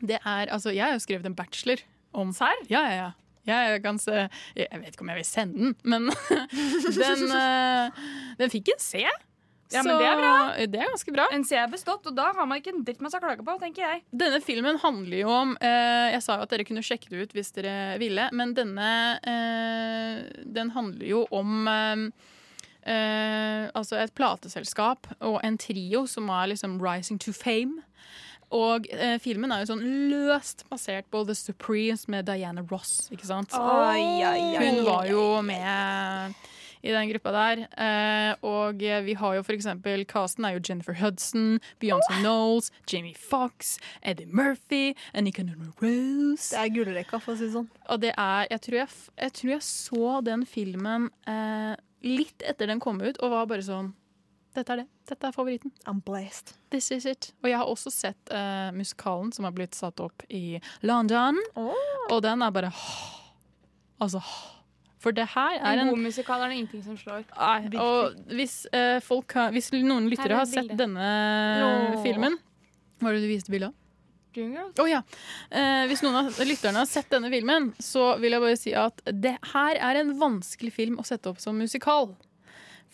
Det er, altså, jeg har jo skrevet en bachelor om Serr? Ja, ja, ja. Jeg, er ganske, jeg vet ikke om jeg vil sende den, men (laughs) den, eh, den fikk en C. eh, Ja, men det er bra. Det er ganske bra. En C er bestått, og da har man ikke en dritt man skal klage på, tenker jeg. Denne filmen handler jo om eh, Jeg sa jo at dere kunne sjekke det ut hvis dere ville, men denne eh, Den handler jo om eh, eh, altså et plateselskap og en trio som er liksom rising to fame. Og eh, filmen er jo sånn løst basert på The Supremes med Diana Ross. ikke sant? Ai, ai, ai. Hun var jo med i den gruppa der. Eh, og eh, vi har jo for eksempel casten er jo Jennifer Hudson, Beyoncé Knowles, Jamie Fox, Eddie Murphy, Annika Rose. Det er gullrekka, for å si det sånn. Og det er Jeg tror jeg, f- jeg, tror jeg så den filmen eh, litt etter den kom ut, og var bare sånn Dette er det. Dette er favoritten. I'm blessed. This is it. Og jeg har også sett eh, musikalen som har blitt satt opp i London, og den er bare Altså For det her er En en god musikal er det ingenting som slår. Nei, og hvis, eh, folk har, hvis noen Her lyttere er har et sett bilde. denne Nå. filmen Hva var det du viste bildet av? Dreamgirls? Å ja. Eh, hvis noen av lytterne har sett denne filmen, så vil jeg bare si at det her er en vanskelig film å sette opp som musikal.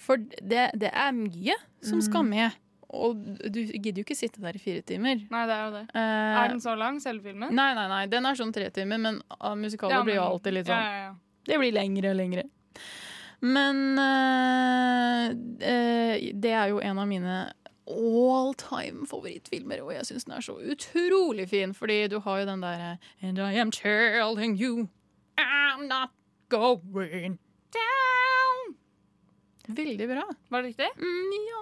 For det, det er mye som skal med. Og du gidder jo ikke sitte der i fire timer. Nei, det er jo det. Eh, Er den så lang, selve filmen? Nei, nei, nei. Den er sånn tre timer, men ah, musikaler blir jo alltid litt sånn. Ja, ja, ja. Det blir lengre og lengre. Men eh, eh, det er jo en av mine all time favorittfilmer, og jeg syns den er så utrolig fin, fordi du har jo den derre And I am telling you I'm not going down. Veldig bra. Var det riktig? Mm, ja,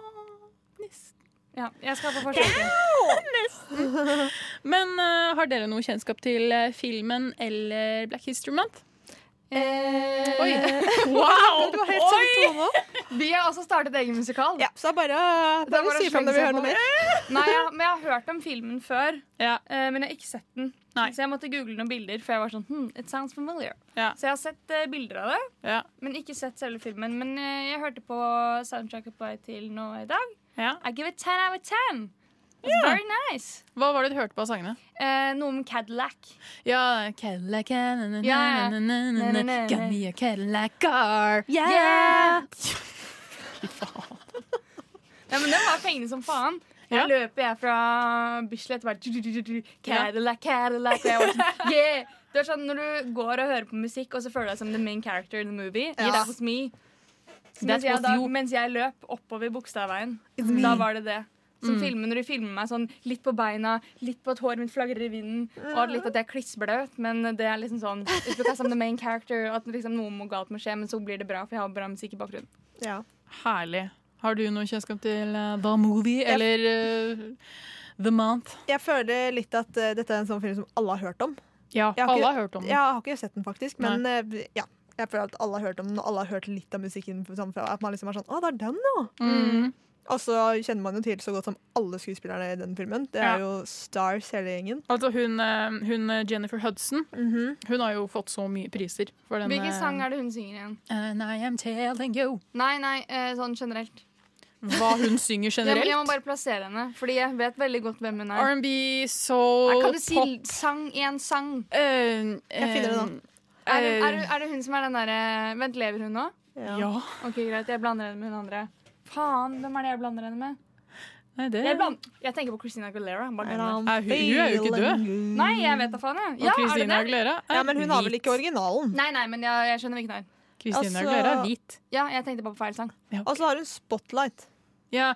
nesten. Ja. Jeg skal på forsøket. Men eh, har dere noe kjennskap til eh, filmen eller Black History Month? Oi! Wow! Du har helt samme tone nå. Vi har også startet egen musikal. Ja, så det er bare, Det er bare bare å si ifra slenge når vi seg på. hører noe mer. Nei, ja, men jeg har hørt om filmen før, Ja. eh, men jeg har ikke sett den. Nei. Så jeg måtte google noen bilder, for jeg var sånn hmm, it sounds familiar. Ja. Så jeg har sett eh, bilder av det, Ja. men ikke sett selve filmen. Men eh, jeg hørte på soundtracket på vei til nå i dag. Ja. I give it 10 out of 10. It's very nice. Hva var det du hørte på av sangene? Eh, noe om Cadillac. Ja, Cadillac Ja. Got me a Cadillac car. Yeah! (laughs) Nei, men den var pengene som faen. Ja. Da løper jeg fra Bislett bare Cadillac, Cadillac. Og jeg var sånn, yeah! Det er sånn når du går og hører på musikk, og så føler du deg som the main character in the movie. That was me. Så That Mens jeg, was da, you. mens jeg løp oppover Bogstadveien, da var det det. Som Mm. filmer, Når de filmer meg sånn litt på beina, litt på at håret mitt flagrer i vinden, og litt at jeg er klissblaut, men det er liksom sånn It's because I'm the main character, og at liksom noe må galt må skje, men så blir det bra, for jeg har bra musikk i bakgrunnen. Ja. Herlig. Har du noe kjennskap til eh, The Movie eller eh, The Month? Jeg føler litt at eh, dette er en sånn film som alle har hørt om. Ja, Jeg har alle ikke- har hørt om Jeg den. har ikke sett den, faktisk, men eh, ja. Jeg føler at alle har hørt om den, og alle har hørt litt av musikken. Sånn, fra- at man liksom er sånn, å, det er den, ja. Mm. Og så kjenner man jo til så godt som alle skuespillerne i den filmen. Det Ja. er jo stars hele gjengen. Altså hun, eh, hun eh, Jennifer Hudson Mhm. Hun har jo fått så mye priser for den eh, Hvilken sang er det hun synger igjen? And I am telling you Nei, nei, eh, sånn generelt. hva hun synger Jeg må, jeg må generelt. bare plassere henne, fordi jeg vet veldig godt hvem hun er. R&B, soul, Nei, pop eh, Kan du si l- sang én sang? Jeg finner det nå. Er det, er, det, er det hun som er den derre Vent, lever hun nå? Ja. Ok, greit, jeg blander henne med hun andre. Faen, hvem er det jeg blander henne med? Nei, det Jeg, bland jeg tenker på Christina Aguilera. Bare glem det. Nei, hun- hun er jo ikke død. Nei, jeg vet da faen, jeg. Og Ja, er Christina det det? Aguilera er Ja, men hun har vel hvit. ikke originalen. Nei, nei, men jeg, jeg skjønner hvilken det er. Christina Altså- Aguilera er hvit. Ja, jeg tenkte bare på feil sang. Og så har hun Spotlight. Ja.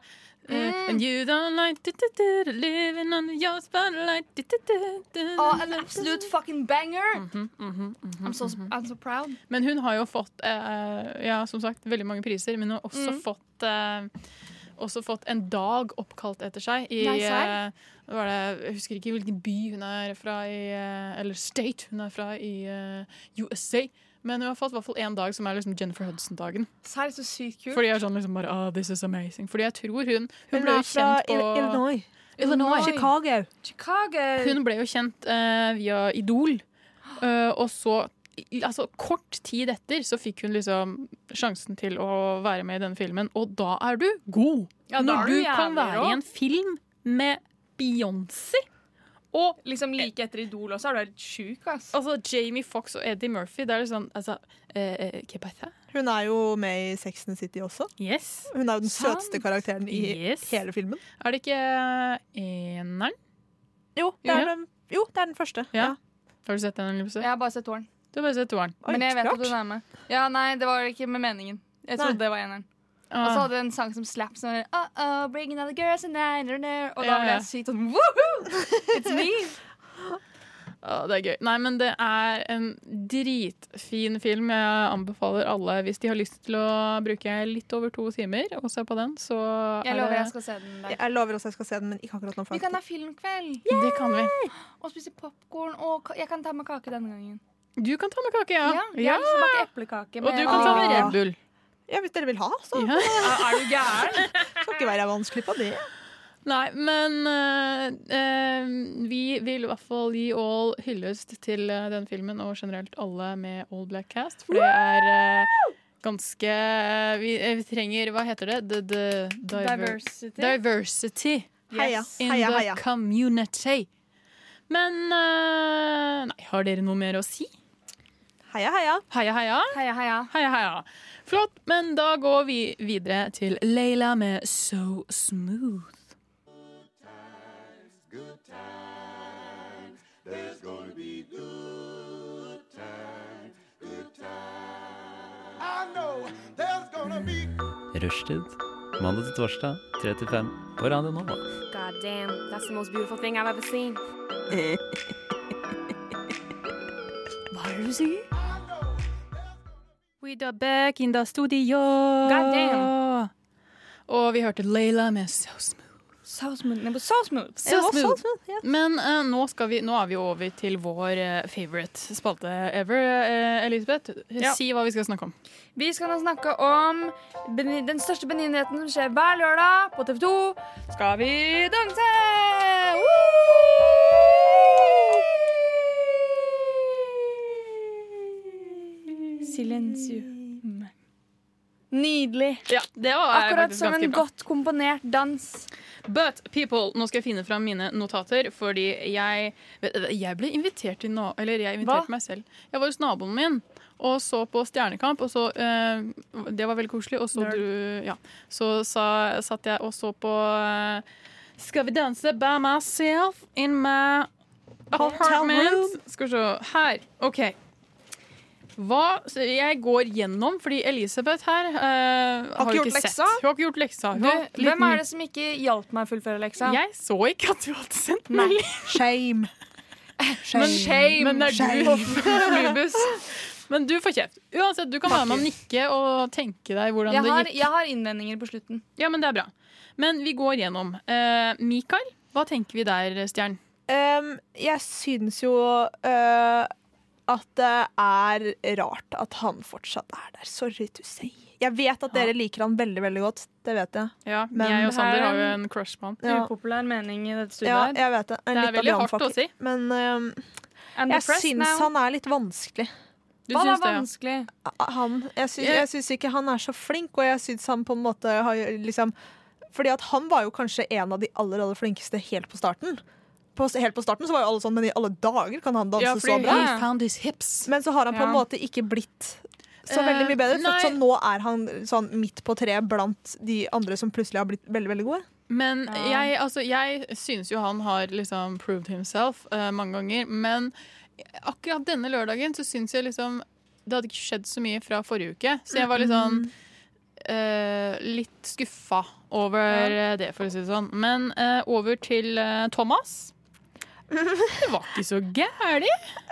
eh, Mm. And you don't like du, du, du, living on your spotlight du, du, du, du. Mhm, Å, an absolute fucking banger! Ah, eh. I'm so, I'm so proud. Men hun har jo fått eh, Ja, som sagt, veldig mange priser, men hun har også Mm. fått eh, også fått en dag oppkalt etter seg i Nei, serr? eh, hva var det, Jeg husker ikke hvilken by hun er fra i eh, Eller state hun er fra i eh, USA. Men hun har fått i hvert fall én dag som er liksom Jennifer Hudson-dagen. Serr, så sykt kult. Fordi jeg er sånn liksom bare, ah, this is amazing Fordi jeg tror hun Hun Hun ble er jo fra kjent på Il- Illinois. Illinois. Chicago. Chicago. Hun ble jo kjent eh, via Idol, eh, og så i- Altså, kort tid etter så fikk hun liksom sjansen til å være med i denne filmen, og da er du god! Ja, da er Når du du kan jævlig være rå. i en film med Beyoncé og Liksom like etter Idol også, er du helt sjuk, ass. altså, Jamie Fox og Eddie Murphy. Det er liksom altså, eh, eh, ¿Qué pasa? Hun er jo med i Sex and the City også. Yes. Hun er jo den Sant. søteste karakteren i Yes. hele filmen. Er det ikke eh, eneren? Jo, det er, Ja. den, jo, det er den første. Ja. Har du sett den? Else? Jeg har bare sett tårn. Du har bare sett toeren. Oi, Men jeg vet at klart. hun er med. Ja, nei, det var ikke med meningen. Jeg Nei. trodde det var eneren. Og så hadde hun en sang som slap som var, oh, oh, bringing out the girls and nine and there. Og da Ja, ble ja. jeg sykt sånn woohoo! It's (laughs) me! Ja, det er gøy. Nei, men det er en dritfin film. Jeg anbefaler alle, hvis de har lyst til å bruke litt over to timer og se på den, så Jeg er lover det jeg skal se den der. Jeg lover også jeg skal se den, men ikke akkurat nå. Vi kan ha filmkveld Det kan vi. og spise popkorn. Og ka- jeg kan ta med kake denne gangen. Du kan ta med kake, Ja, ja. Jeg har lyst til å bake eplekake. Og med- du kan ta med Red Bull. Ja, Hvis dere vil ha, så Ja. Er du gæren? skal ikke være vanskelig på det. Nei, men eh, eh, vi vil i hvert fall gi all hyllest til eh, den filmen, og generelt alle med All Black Cast, for det er eh, ganske vi, eh, vi trenger Hva heter det? The, the, diver- Diversity. Diversity. Heia, In heia, the heia. community. Men eh, nei, har dere noe mer å si? Heia, heia. Heia, heia. (laughs) Heia, heia. Heia, heia. Flott, men da går vi videre til Leila med So Smooth. Rushtid. Mandag til torsdag, 3 til 5 på Radio Nova. God damn, that's the most beautiful thing I've ever seen. We are back in the studio. God damn. Og vi hørte Leila med So Smooth. So smooth. Nei, but so smooth. So Ja, smooth. så- ja. Men eh, nå, skal vi, nå er vi over til vår eh, favorite spalte ever. eh, Elisabeth, Ja. si hva vi skal snakke om. Vi skal nå snakke om beni- den største begivenheten som skjer hver lørdag på TV 2. Skal vi danse? Woo! Silensium. Nydelig. Ja, det var Akkurat faktisk som ganske en bra. godt komponert dans. But people, nå skal jeg finne fram mine notater, fordi jeg, vet du, jeg ble invitert til nå, eller jeg inviterte Hva? meg selv. Jeg var hos naboen min og så på Stjernekamp, og så, eh, det var veldig koselig, og så, Nerd. dro- ja, så sa, satt jeg og så på eh, Skal vi danse by myself in my apartment? Skal vi se, her, ok. Hva så jeg går gjennom, fordi Elisabeth her eh, har, ikke ikke gjort sett. leksa? Hun har ikke gjort leksa. Hun Du, har litt hvem er det som ikke hjalp meg å fullføre leksa? jeg så ikke at du hadde sendt Nei. melding. Shame. Men shame! Men det er du på flybuss. Men du får kjeft. Uansett, du kan være med og nikke og tenke deg hvordan Jeg det har, gikk. jeg har innvendinger på slutten. Ja, men det er bra. Men vi går gjennom. Eh, Mikael, hva tenker vi der, Stjern? Um, jeg syns jo uh, at det er rart at han fortsatt er der. Sorry to say. Jeg vet at dere liker han veldig, veldig godt. Det vet jeg. Ja, Men jeg og Sander her- har jo en crush på han. Ja, Upopulær mening i dette ja studioet. her. jeg vet det. Det En er litt av veldig hardt å brannfakkel. si. Men um, I'm jeg depressed syns now. han er litt vanskelig. Du Hva syns er det, ja. vanskelig? A- Han, jeg syns, Jeg- jeg syns ikke han er så flink, og jeg syns han på en måte har liksom Fordi at han var jo kanskje en av de aller, aller flinkeste helt på starten. På, helt på starten så var jo alle sånn, men i alle dager kan han danse Ja, så fordi- bra. Ja. He found his hips. Men så har han på en Ja. måte ikke blitt så Eh, veldig mye bedre. nei. For så nå er han sånn midt på treet blant de andre som plutselig har blitt veldig, veldig gode. Men jeg, altså, jeg synes jo han har liksom proved himself eh, mange ganger. Men akkurat denne lørdagen så syns jeg liksom Det hadde ikke skjedd så mye fra forrige uke. Så jeg var litt sånn Mm. eh, litt skuffa over eh, det, for å si det sånn. Men eh, over til eh, (laughs) Thomas. Det var ikke så gæli.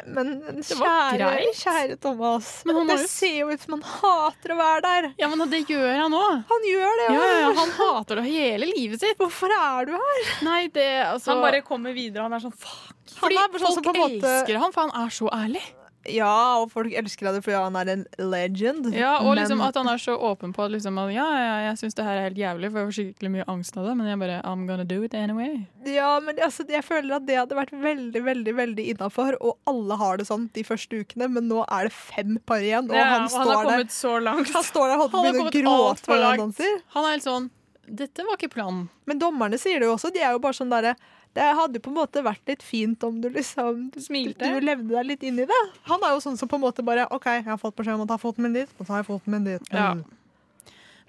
Men var kjære, greit. kjære Thomas, Men han det har jo- ser jo ut som han hater å være der. Ja, men det gjør han òg. Han gjør det. Ja, og- ja, ja, han hater det hele livet sitt. Hvorfor er du her? Nei, det, altså, Han bare kommer videre, han er sånn fuck. fordi han er sånn som folk på en måte- elsker han, for han er så ærlig. Ja, og folk elsker deg fordi han er en legend. Ja, og Men- liksom at han er så åpen på at liksom, at, ja, ja, jeg syns det her er helt jævlig, for jeg får skikkelig mye angst av det, men jeg bare I'm gonna do it anyway. Ja, men altså, jeg føler at det hadde vært veldig, veldig veldig innafor. Og alle har det sånn de første ukene, men nå er det fem par igjen, og Ja, han og han har står der. kommet så langt. Han står der og holder på å Han har begynne å kommet alt gråte for når han langt. danser. Han er helt sånn Dette var ikke planen. Men dommerne sier det jo også. De er jo bare sånn derre Det hadde på en måte vært litt fint om du liksom Smilte. Du levde deg litt inn i det. Han er jo sånn som på en måte bare OK, jeg har fått beskjed om å ta foten min dit, og så har jeg foten min dit. Ja. Mm.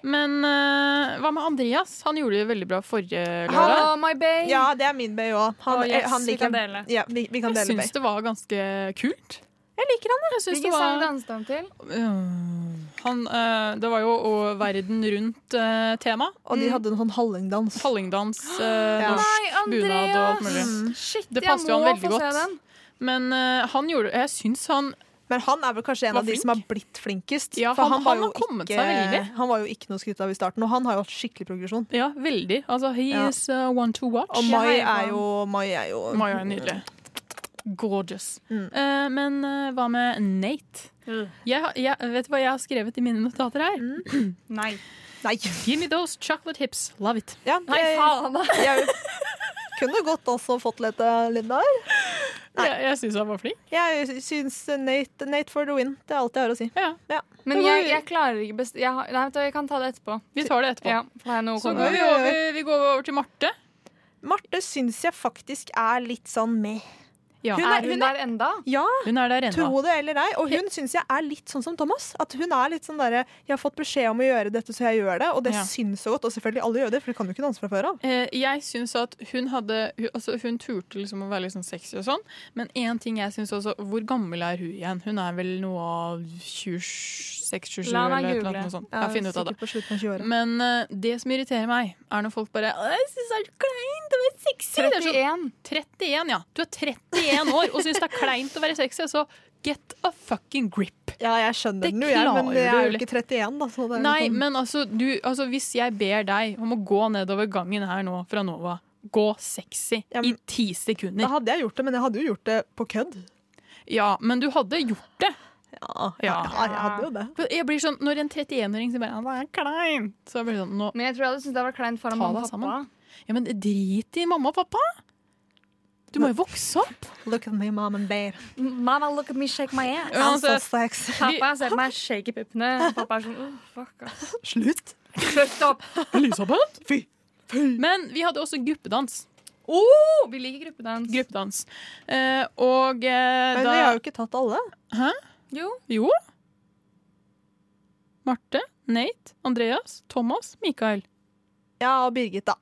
Men eh, hva med Andreas? Han gjorde det veldig bra forrige lørdag. Hello, my babe. ja, det er min bay òg. Han, Å, yes, eh, han vi liker kan dele. Ja, vi, vi kan Jeg dele bay. syns det var ganske kult. Jeg liker han, Jeg syns det Hvilken sang var danset han til? Øh, han, eh, Det var jo og verden rundt-tema. Og de hadde en sånn hallingdans. Hallingdans, eh, Ja. norsk bunad og alt mulig. Shit, Det jeg passer jo må han veldig få se godt. den. Men eh, han gjorde Jeg syns han Men han er vel kanskje en Var av de flink. som har blitt flinkest. Ja, for han- var han jo har kommet seg veldig. Han var jo ikke noe skryt av i starten, og han har jo hatt skikkelig progresjon. Ja, veldig. Altså, he Ja. is uh, one to watch. Og Jeg Mai heier på er han. jo, Mai er jo Maja er nydelig. Gorgeous. Mm. Eh, men eh, hva med Nate? Jeg, har- jeg, vet du hva jeg har skrevet i mine notater her? Nei. Nei! Give me those chocolate hips. Love it. Ja, Nei, jeg- faen. jeg kunne godt også fått litt av Linda her. Jeg, jeg syns han var flink. Jeg syns Nate, Nate for the win. Det er alt jeg har å si. Ja, Men jeg, (laughs) jeg klarer ikke best... Jeg, har- nei, vet du, hva, jeg kan ta det etterpå. vi tar det etterpå. Ja, for da har jeg noe å Så komme går med. vi over, vi går over til Marte. Marte syns jeg faktisk er litt sånn med. Ja, Hun Er hun der enda? Ja, hun er der ennå. tro det eller ei. Og hun syns jeg er litt sånn som Thomas. At hun er litt sånn derre 'Jeg har fått beskjed om å gjøre dette, så jeg gjør det.' Og det Ja. syns så godt. Og selvfølgelig, alle gjør det, for du kan jo ikke danse fra før av. Eh, jeg syns at hun hadde hun, altså hun turte liksom å være litt sånn sexy og sånn, men én ting jeg syns også Hvor gammel er hun igjen? Hun er vel noe av 26-27 eller La meg et eller google. annet noe sånt. Jeg finner ut av det. Sikkert på slutten av 20-åra. Men eh, det som irriterer meg, er når folk bare «Å, Jeg syns det er så kleint å være sexy. Det er sånn, 31. 31, ja. Du er 31 år og syns det er kleint å være sexy. Så get a fucking grip. Ja, jeg skjønner Det den jo, jeg, men klarer jeg er du jo litt. ikke 31, da. Så det er jo Nei, sånn- men altså, du, altså hvis jeg ber deg om å gå nedover gangen her nå fra Nova, gå sexy Ja, i men- ti Da sekunder. hadde jeg gjort det, men jeg hadde jo gjort det på kødd. Ja, men du hadde gjort det. Ja, ja. Ja. jeg hadde jo det. For Jeg blir sånn, Når en 31-åring sier bare «Ja, 'det er kleint', så jeg blir sånn nå, Men jeg tror jeg hadde syntes det var kleint Ta foran mamma deg og pappa. sammen. Ja, men drit i mamma og pappa! Du må jo vokse opp! Look at me, mom and dad. Mama, look at me, shake my ass. I'm altså- so sex. Pappa ser på meg, shake i puppene. Pappa er sånn, oh, fuck ass. Slutt. Slutt opp. Elisabeth? Fy! Men vi hadde også gruppedans. Oh, vi liker gruppedans. Gruppedans. Eh, og eh, Men da vi har jo ikke tatt alle. Jo. Jo. Marte, Nate, Andreas, Thomas, Mikael. Ja, og Birgit, da.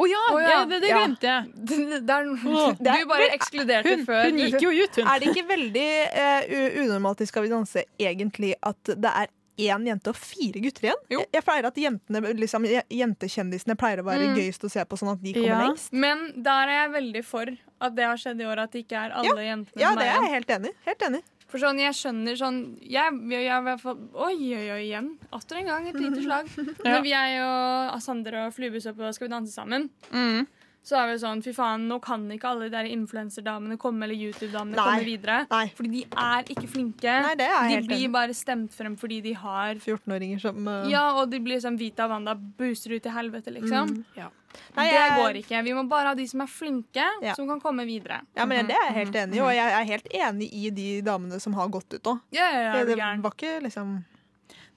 Å ja, Å ja, Det, det ja. glemte jeg! Det er, Åh. du bare ekskluderte Hun, før. hun gikk jo ut, hun. Er det ikke veldig eh, u- unormalt i Skal vi danse egentlig at det er én jente og fire gutter igjen? Jo. Jeg, jeg pleier at jentene, liksom, je- Jentekjendisene pleier å være Mm. gøyest å se på, sånn at de kommer Ja. lengst. Men der er jeg veldig for at det har skjedd i år, at det ikke er alle jentene Ja, som er det er igjen. jeg helt enig Helt enig. For sånn, jeg skjønner sånn Jeg, jeg, jeg, var for- Oi, oi, oi, igjen. Atter en gang, et lite slag. Ja. Når jeg og Sander og Flube så på Skal vi danse sammen, Mm. så er vi sånn Fy faen, nå kan ikke alle de der influenserdamene komme, eller YouTube-damene Nei. komme videre. Nei. Fordi de er ikke flinke. Nei, det er jeg de helt blir enig i. bare stemt frem fordi de har 14-åringer som eh, Ja, og de blir sånn Vita og Wanda buser ut i helvete, liksom. Mm. Nei, det jeg- går ikke. Vi må bare ha de som er flinke, Ja. som kan komme videre. Ja, men Det er jeg helt enig i, og jeg er helt enig i de damene som har gått ut òg. Ja, ja, ja, Det, er det du gæren. var ikke liksom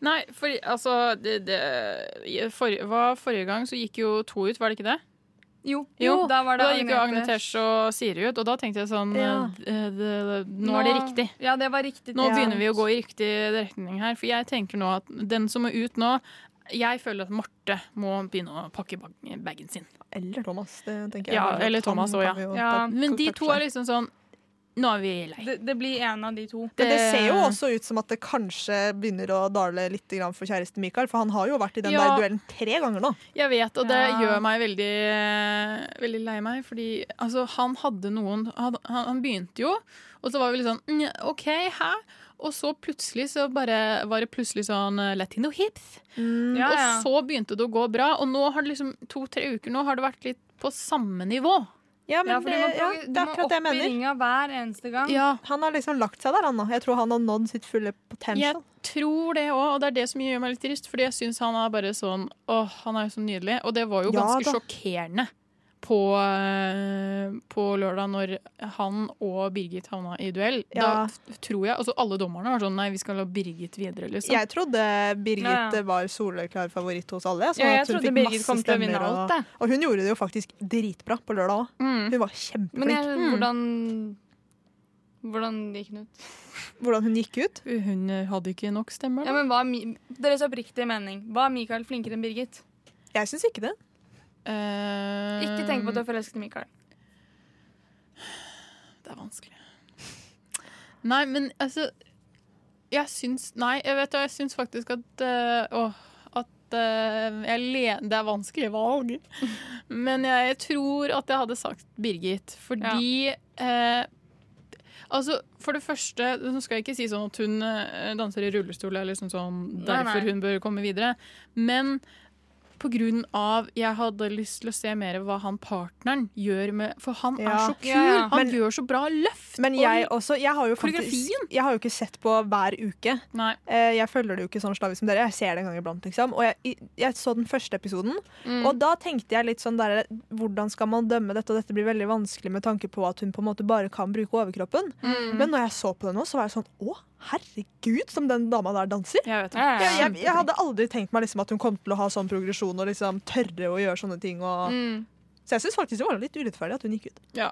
Nei, for altså det, det, i- forrige- hva- Forrige gang så gikk jo to ut, var det ikke det? Jo, Jo, da var det da gikk jo Agnetesh og Siri ut, og da tenkte jeg sånn Ja. eh, det, det, Nå er det riktig. Ja, det var riktig. Nå Ja. begynner vi å gå i riktig retning her, for jeg tenker nå at den som er ut nå Jeg føler at Marte må begynne å pakke bag- bagen sin. Eller Thomas, det tenker jeg. Ja, Han eller Thomas også, ja. kan vi jo Ja, ta- Men de takk to for. er liksom sånn Nå er vi lei. Det, det blir en av de to. Men det ser jo også ut som at det kanskje begynner å dale litt grann for kjæresten Mikael, for han har jo vært i den Ja. der duellen tre ganger nå. Jeg vet, og det Ja. gjør meg veldig, eh, veldig lei meg, fordi altså, han hadde noen han, han han begynte jo, og så var vi litt sånn «Nja, OK, hæ? Og så plutselig så bare var det plutselig sånn eh, latino hits. Ja, ja. Og så begynte det å gå bra, og nå har det liksom to-tre uker nå har det vært litt på samme nivå. Ja, men ja, for du det, må, ja, prøve- det er du må akkurat opp det jeg i mener. ringa hver eneste gang. Ja, Han har liksom lagt seg der, han nå. Jeg tror han har nådd sitt fulle jeg potential. tror det òg, og det er det som gjør meg litt trist, fordi jeg syns han er bare sånn Åh, han er jo så nydelig. Og det var jo Ja ganske da. sjokkerende på, eh, på lørdag, når han og Birgit havna i duell. Ja. Da t- tror jeg Altså, alle dommerne var sånn Nei, vi skal la Birgit videre, liksom. Jeg trodde Birgit eh, Ja, ja. var soleklar favoritt hos alle. Ja, jeg at hun trodde fikk Birgit masse kom til å vinne stemmer, alt, jeg. Og, og hun gjorde det jo faktisk dritbra på lørdag òg. Mm. Hun var Men kjempeflink. jeg, hvordan Mm. Hvordan gikk den ut? Hvordan hun gikk ut. Hun eh, hadde ikke nok stemmer. Ja, da. men hva, er Mi- Deres oppriktige mening. Var Mikael flinkere enn Birgit? Jeg syns ikke det. Eh, Ikke tenk på at du er forelsket i Mikael. Det er vanskelig. Nei, men altså Jeg syns Nei, jeg vet det, jeg syns faktisk at eh, Åh, at eh, jeg le, Det er vanskelig valg. Men jeg, tror at jeg hadde sagt Birgit, fordi eh, Altså, For det første, nå skal jeg ikke si sånn at hun eh, danser i rullestol, det er liksom sånn Nei, derfor nei. hun bør komme videre. Men på grunn av Jeg hadde lyst til å se mer hva han partneren gjør med For han er Ja. så kul! Ja, ja. Han Men- gjør så bra løft! Men og- jeg også Jeg har jo, faktisk, Koreografien? jeg har jo ikke sett på hver uke. Nei. Eh, Jeg følger det jo ikke sånn slavisk som dere. Jeg ser det en gang iblant. liksom. Og jeg, jeg så den første episoden, Mm. og da tenkte jeg litt sånn der, Hvordan skal man dømme dette? Og dette blir veldig vanskelig med tanke på at hun på en måte bare kan bruke overkroppen. Mm. Men når jeg så på det nå, så var jeg sånn Å, herregud, som den dama der danser! Jeg vet det. Ja, Jeg, ja, ja. jeg, jeg hadde aldri tenkt meg liksom at hun kom til å ha sånn progresjon og liksom tørre å gjøre sånne ting. Og... Mm. Så jeg syns faktisk det var litt urettferdig at hun gikk ut. ja.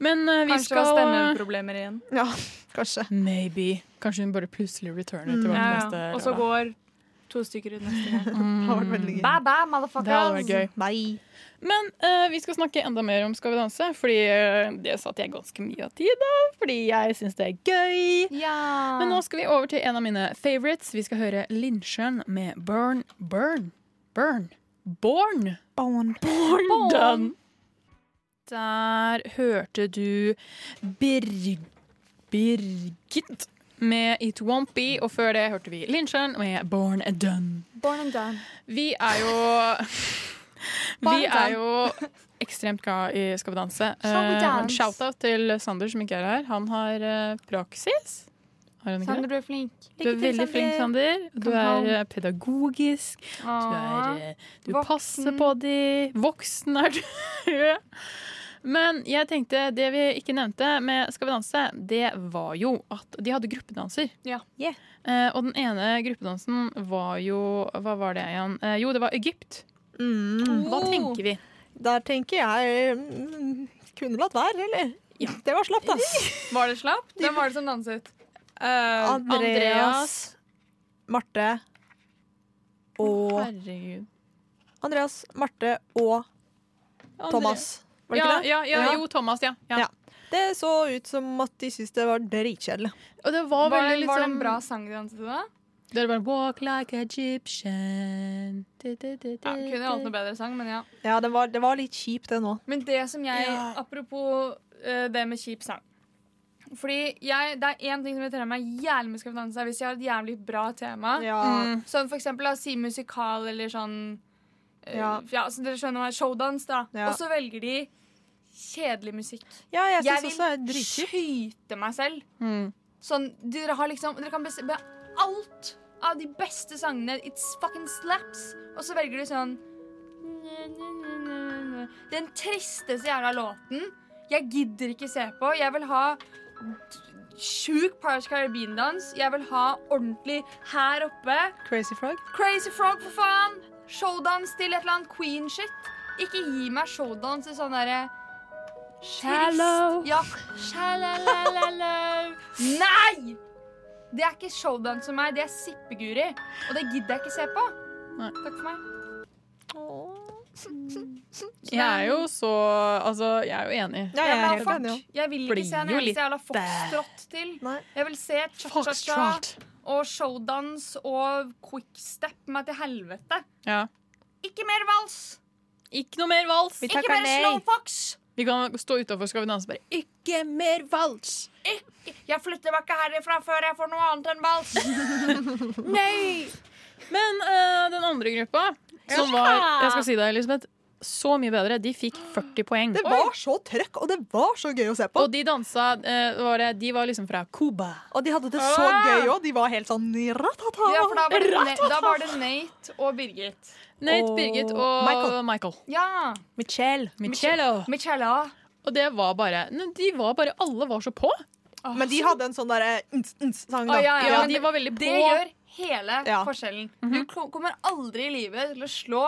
Men eh, vi Kanskje det var skal stemmeproblemer igjen. Ja, kanskje. Maybe. Kanskje hun bare plutselig returner til Mm. hvert Ja, ja. neste Og så lørdag. går to stykker ut neste gang. (laughs) Det har vært veldig gøy. Bye Det hadde bye, vært motherfuckers. gøy. Nei. Men eh, vi skal snakke enda mer om Skal vi danse, fordi eh, det satte jeg ganske mye av tid av. Fordi jeg syns det er gøy. Men nå skal vi over til en av mine favorites. Vi skal høre Lindsjøen med Burn, Burn, Burn. Born. Bon. Born. Der hørte du Birg... Birgit med It Won't Be, og før det hørte vi Lindsjøen med Born Done. Born and done. Vi er jo Vi er jo ekstremt glad i Skal vi danse. Skal vi Eh, danse? Shout-out til Sander som ikke er her. Han har eh, praksis. Har han ikke Sander, det? du er flink. Du er veldig sånn flink, Sander. Du Kom er home. eh, pedagogisk. Du, er, Åh. eh, du Ah, Voksen. passer på de Voksen er du. (laughs) Men jeg tenkte, det vi ikke nevnte med Skal vi danse, det var jo at de hadde gruppedanser. Ja. Yeah. Eh, og den ene gruppedansen var jo Hva var det igjen? Eh, jo, det var Egypt. Mm. Hva tenker vi? Der tenker jeg mm, Kunne latt være, eller? Det var slapt, (laughs) ass. Var det slapp? Eh, Hvem var det som danset? Andreas. Marte og Herregud. Andreas, Marte og Thomas. Var det ja, ikke det? ja, ja, Ja. jo, Thomas, ja. ja. Ja. Det så ut som at de syntes det var dritkjedelig. Og det var, Var, det- veldig litt var det sånn- en bra sang de danset til da? Det var Walk like Egyptian. Mm. Du, du, du, du, Ja, kunne jo hatt noe bedre sang, men ja. Ja, det var, det var litt kjipt, det nå. Men det som jeg Ja. Apropos eh, det med kjip sang. Fordi jeg, Det er én ting som irriterer meg jævlig med Skal vi danse, er hvis jeg har et jævlig bra tema. Ja. Mm. Sånn for eksempel, la oss si musikal eller sånn eh, ja. Ja. så Dere skjønner hva er showdans, da. Ja. Og så velger de kjedelig musikk. Ja, jeg Jeg syns vil også det er dritkjipt. skyte meg selv. Mm. Sånn, dere har liksom Dere kan bestemme alt av de beste sangene. It's fucking slaps. Og så velger du sånn Den tristeste jævla låten. Jeg gidder ikke se på. Jeg vil ha d- sjuk Paris Caribbean-dans. Jeg vil ha ordentlig her oppe. Crazy Frog. Crazy Frog, for faen! Showdans til et eller annet queen-shit. Ikke gi meg showdans i sånn derre Shallow. Trist. Ja. Shalalalalala. Nei! Det er ikke showdance for meg, det er sippeguri. Og det gidder jeg ikke se på. Nei. Takk for meg. Jeg er jo så Altså, jeg er jo enig. Ja, jeg er Jævla helt fuck. enig. ja. Jeg vil Blir ikke se en jo eneste litt jævla foxtrot til. Nei. Jeg vil se cha-cha-cha og showdans og quickstep meg til helvete. Ja. Ikke mer vals! Ikke noe mer vals. Vi Ikke takker mer nei. slowfox! Vi kan stå utafor Skal vi danse bare Ikke mer vals! Jeg flytter meg ikke herifra før jeg får noe annet enn (laughs) vals. Nei! Men eh, den andre gruppa, som var Jeg skal si deg, Elisabeth, så mye bedre. De fikk 40 poeng. Det var så trøkk, og det var så gøy å se på. Og de dansa eh, var det, De var liksom fra Cuba. Og de hadde det så Ah! gøy òg. De var helt sånn ratata. Ja, for da var det, Ne- da var det Nate og Birgit. Nate, Og Birgit og Michael. Michael. Ja. Michelle. Michelo. Michella. Og det var bare nei, De var bare Alle var så på. Men de hadde en sånn derre ns-ns-sang, da. Å, ja, ja, Ja, men de var veldig på. Det gjør hele Ja. forskjellen. Du ko- kommer aldri i livet til å slå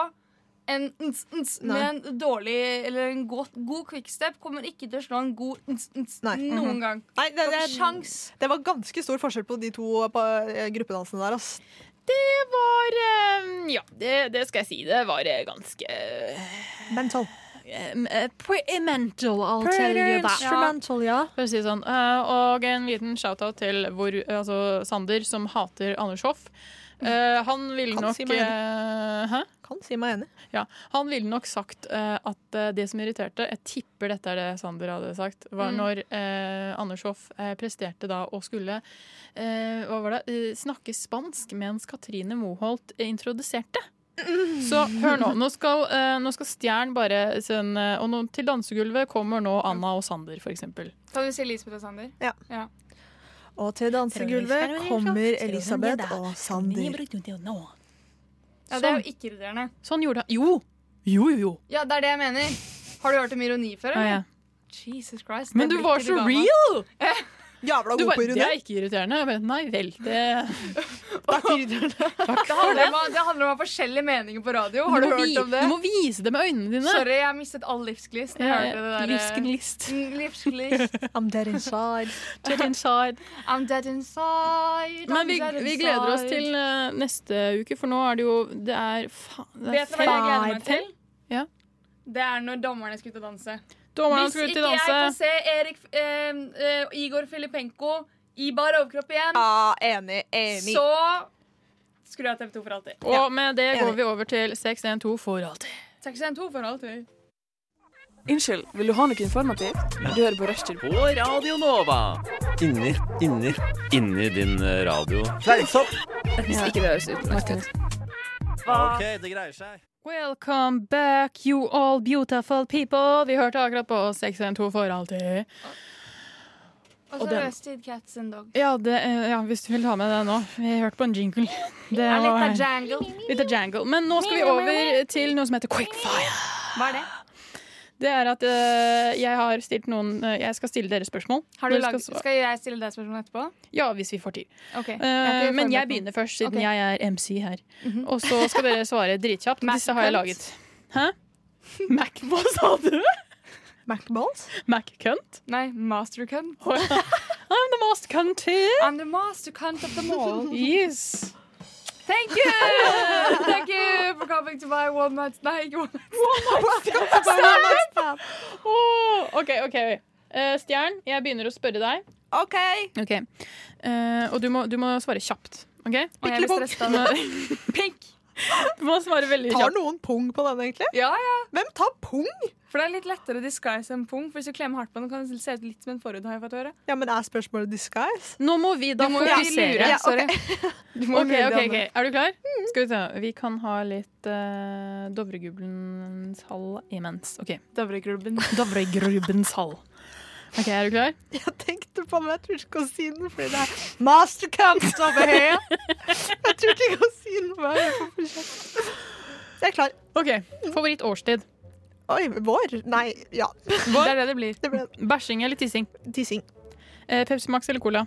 en ns, ns med Nei. en dårlig eller en god, god quickstep. Kommer ikke til å slå en god ns, ns Nei. Mhm. noen gang. Nei, det, Du har ikke det, sjans. det var ganske stor forskjell på de to på eh, gruppedansene der. Ass. Det var eh, Ja, det, det skal jeg si. Det var eh, ganske eh, Mental. eh, Pretty mental, I'll tell you that. Instrumental, ja. For å si det sånn. Eh, og en liten shout-out til hvor, altså Sander, som hater Anders Hoff. Eh, han ville Kan nok si meg eh, hæ? Kan si meg enig. Ja, Han ville nok sagt eh, at eh, det som irriterte Jeg tipper dette er det Sander hadde sagt. Var Mm. når eh, Anders Hoff eh, presterte da og skulle eh, Hva var det? eh, snakke spansk mens Katrine Moholt introduserte. Så hør nå. Nå skal, eh, nå skal Stjern bare sende Og nå, til dansegulvet kommer nå Anna og Sander, for eksempel. Kan du si Lisbeth og Sander? Og til dansegulvet kommer Elisabeth og Sander. Ja, Det er jo ikke irriterende. Sånn gjorde han. Jo! Jo, jo, jo. Ja, det er det jeg mener. Har du hørt om ironi før? Ja, Eller? ja. Jesus Christ. Men det du var blikket så ga meg. real! Jævla Du god var, på det (laughs) ironi. er ikke irriterende. Jeg bare, Nei vel, det Det handler, om, det handler om å ha forskjellige meninger på radio. Har du, må vi- hørt om det? Du må vise det med øynene dine. Sorry, jeg har mistet all livsglist. når jeg hørte det der, eh, (laughs) Livsgnist. Mm, Livsglist. I'm dead inside. Get inside. I'm dead inside. Men I'm vi, dead vi gleder oss inside. til eh, neste uke, for nå er det jo Det er faen det er Vet du hva jeg gleder meg fem- til? Ja. Det er når dommerne skal ut og danse. Dommerne Hvis skal ut ikke til jeg får danse. se Erik eh, eh, Igor Filipenko i bar overkropp igjen, (laughs) Ja, enig. Enig. så skrur jeg av TV2 for alltid. Og med det går Enig. vi over til 612 for alltid. 612 for alltid. Unnskyld, vil du ha noe informativt? Du hører på Rushtid. På Radio Nova. Inni, inni, Inni din eh, radio. fleipsopp. Hvis ikke det høres ut. Martin. Ok, det greier seg. Welcome back, you all beautiful people. Vi hørte akkurat på 612 for alltid. Og Og så den- Rusted Cats and Dogs. Ja, det, eh, ja, hvis du vil ta med det nå. Vi hørte på en (laughs) jingle. Det Det er litt var- av jangle. Litt av jangle. Men nå skal vi over til noe som heter quickfire. Hva er det? Det er at eh, jeg har stilt noen eh, Jeg skal stille dere spørsmål. Har du Dere laget, skal svare. skal jeg stille deg spørsmål etterpå? Ja, hvis vi får tid. Ok, jeg Eh, har men jeg ikke forberedt meg. begynner først, siden Ok. jeg er MC her. Og så skal dere svare (laughs) dritkjapt. Mac Disse har jeg cunt. laget. (laughs) Hæ? Mac, hva sa du? Macballs? Mac-cunt? Nei, mastercunt. (laughs) I'm the most cunt here. I'm the mastercunt of them all. (laughs) Yes. Thank you! Thank you for coming to my one night (laughs) Nei, ikke one night Åh, Oh, OK, OK. Eh, Stjern, jeg begynner å spørre deg. OK. Ok. Eh, og du må, du må svare kjapt. OK? Å, jeg blir stresset av det. (laughs) Pink! Du må svare veldig Tar kjapt. noen pung på den, egentlig? Ja, ja, Hvem tar pung? for det er litt lettere å disguise en pung. For hvis du klemmer hardt på den, kan det se ut litt som en forhud, har jeg fått høre. Ja, men er spørsmålet disguise? Nå må vi da Du må jo fokusere. lure. Ja, ok. Sorry. (laughs) Du må Ok, lure ok, de ok. andre. Er du klar? Skal vi ta Vi kan ha litt uh, Dovregubbens hall imens. OK. Dovregrubben. Dovregrubbens hall. OK, er du klar? Jeg tenkte på det, men jeg tror ikke jeg kan si den, fordi det er mastercamp over her. Jeg tror ikke jeg kan si den. for Jeg er for forkjølt. Jeg er klar. OK. Favorittårstid. Oi, vår? Nei, ja. Det er det det blir. Det ble Bæsjing eller tissing? tissing. Eh, Pepsi Max eller Cola?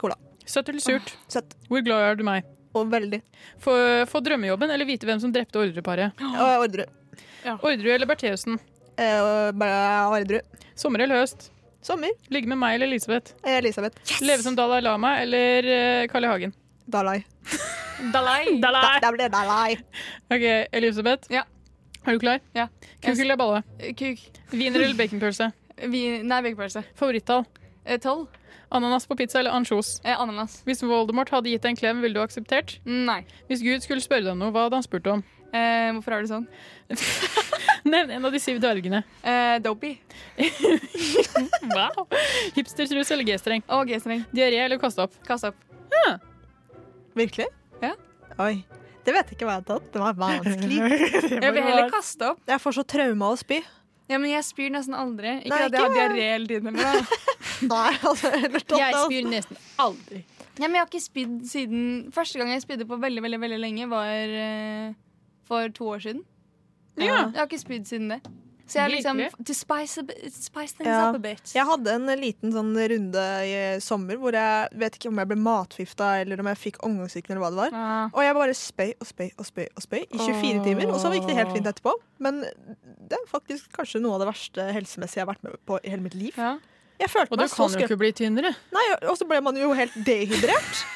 Cola. Ah. Søtt eller surt? Søtt. Hvor glad er du meg? Og veldig. Få, få drømmejobben eller vite hvem som drepte ordreparet? Og ordre. Ordre eller Bertheussen? Eh, og bare ordre. Sommer eller høst? Sommer. Ligge med meg eller Elisabeth? Elisabeth. Leve som Dalai Lama eller eh, Carl I. Hagen? Dalai. Dalai. Da, det ble Dalai. OK, Elisabeth. Ja. Er du klar? Ja. Kuk eller balle? Eh, Kuk. Wiener eller baconpølse? Vi, nei, begepølse. Favorittall? Eh, Tolv. Ananas på pizza eller ansjos? Eh, ananas. Hvis Voldemort hadde gitt deg en klem, ville du akseptert? Nei. Hvis Gud skulle spørre deg om noe, hva hadde han spurt om? (laughs) Eh, hvorfor er du sånn? Nevn en av de syv dvergene. Eh, dopey. Wow. Hipstertrus eller G-streng? Og G-streng. Diaré eller kaste opp? Kast opp. Virkelig? Ja. Oi. Det vet jeg ikke hva jeg har tatt. Det var vanskelig. Jeg vil heller kaste opp. Jeg får så traume av å spy. Ja, men jeg spyr nesten aldri. Ikke Nei, at jeg har ikke diaré hele tiden. eller noe. Nei, altså, eller tatt det, altså. nesten aldri. Ja, men jeg har ikke spydd siden Første gang jeg spydde på veldig, veldig, veldig lenge, var eh, for to år siden. Ja. Jeg har ikke spydd siden det. Så jeg har liksom Virkelig? To spice, a bit- spice things Ja. up a bit. Jeg hadde en liten sånn runde i sommer hvor jeg vet ikke om jeg ble matforgifta eller om jeg fikk omgangssyken eller hva det var. Ah. Og jeg bare spøy og spøy og spøy og spøy i 24 timer, og så gikk det helt fint etterpå. Men det er faktisk kanskje noe av det verste helsemessige jeg har vært med på i hele mitt liv. Ja. Jeg følte Og du meg så kan jo skrøpelig. ikke bli tynnere. Nei, og så ble man jo helt (laughs) dehydrert.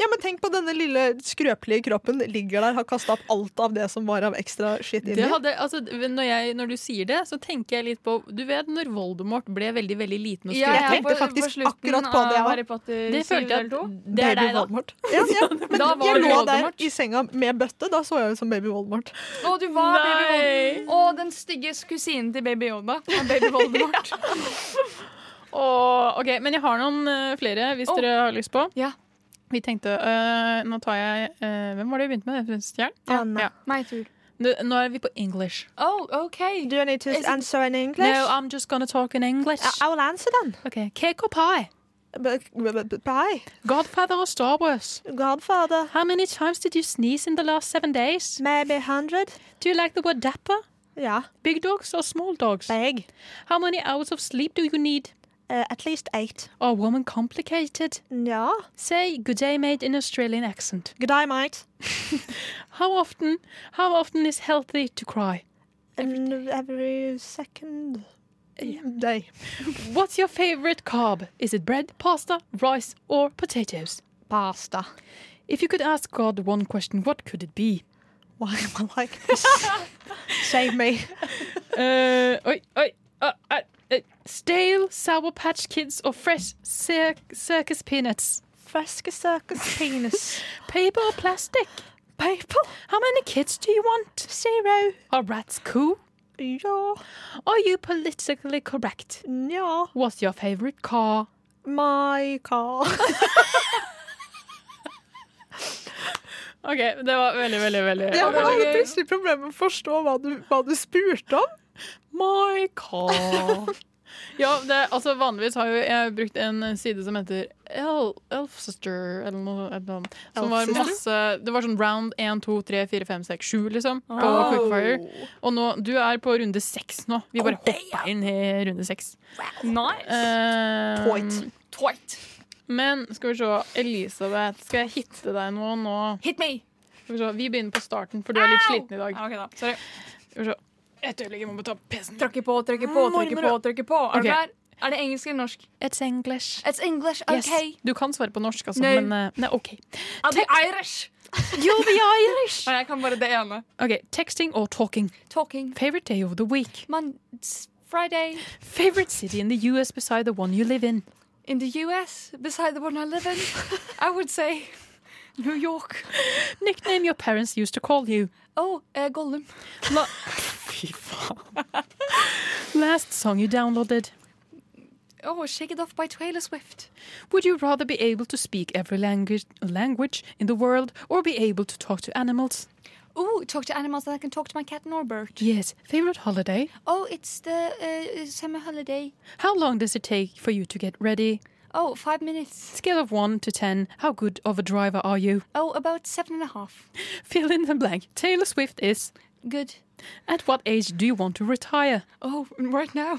Ja, men tenk på denne lille skrøpelige kroppen ligger der, har kasta opp alt av det som var av ekstra skitt Det inni. hadde, altså, når, jeg, når du sier det, så tenker jeg litt på Du vet når Voldemort ble veldig veldig liten og Ja, skrøpelig? jeg tenkte på- faktisk slutten akkurat på det, av ja. Harry Potter Det syv følte jeg eller to. at Det er deg, da. Voldemort. Ja, (laughs) ja. Men Da var jeg du lå Voldemort. der i senga med bøtte, da så jeg ut som baby Voldemort. Å, du var Nei. baby Voldemort. Å, den stygge kusinen til baby Yoda. er Baby Voldemort. (laughs) Åh, ok, Men jeg har noen eh, flere, hvis Åh. dere har lyst på. Ja. Vi tenkte eh, Nå tar jeg eh, Hvem var det vi begynte med? Stjern? Anna. Ja. My tur. Nå, nå er vi på English. Oh, OK. Do I need to Is it- answer in English? No, I'm just gonna talk in English. I- I will answer then. Ok, Cake or pie? B- b- Bye. Godfather or Star Wars? Godfather. How many times did you sneeze in the last seven days? Maybe 100. Do you like the word dapper? Ja. Big dogs or small dogs? Big. How many hours of sleep do you need? Uh, at least 8. Are women complicated? Ja. Say good day mate in Australian accent. Good day, mate. How often how often is healthy to cry? And every second day. What's your favorite carb? Is it bread, pasta, rice or potatoes? Pasta. If you could ask God one question, what could it be? Why am I like this? Save me. Uh, oi, oi, uh, uh, uh, stale Sour Patch Kids or fresh cir- circus peanuts? Fresca circus penis. Paper or plastic? Paper. How many kids do you want? Zero. Are rats cool? Ja. Are you politically correct? Ja. What's your favorite car? My car. Ok, det var veldig, veldig, veldig Jeg hadde plutselig problemer med å forstå hva du, hva du spurte om. My car Ja, det, altså vanligvis har jo jeg brukt en side som heter El, Elfsister eller noe et eller annet. Som var Elfsister? masse Det var sånn round 1, 2, 3, 4, 5, 6, 7 liksom På Oh. Quickfire Og nå, du er på runde 6 nå Vi Oh, bare hoppa inn i runde 6 Nice. Eh, Toit. Twite. Men skal vi se, Elisabeth Skal jeg hitte deg noe nå? Hit me. Skal vi, se, vi begynner på starten For du er litt Au! sliten i dag Ja, OK, da. Sorry. Skal vi se Et øyeblikk, jeg må bare ta PC-en Trykke på, trykke på, trykke på. trykke på Er Ok. du klar? Er det engelsk eller norsk? It's English It's English, Yes. Du kan svare på norsk, altså, Nei. men eh, nei, OK. I'll be Irish. (laughs) You'll be Irish! Nei, jeg kan bare det ene. OK. Texting or talking. Talking. Favorite day of the week. Man, it's Friday Favorite city in the US beside the one you live in. in the US, beside the one I live in, I would say New York. Nickname your parents used to call you. Oh, eh, Gollum. La Fy faen. Last song you downloaded. Oh, Shake It Off by Taylor Swift. Would you rather be able to speak every language language in the world or be able to talk to animals? Ooh, talk to animals that I can talk to my cat Norbert. Yes. Favorite holiday? Oh, it's the uh, summer holiday. How long does it take for you to get ready? Oh, five minutes. Scale of 1 to 10. How good of a driver are you? Oh, about seven and a half. Fill in the blank. Taylor Swift is. Good. At what age do you want to retire? Oh, right now.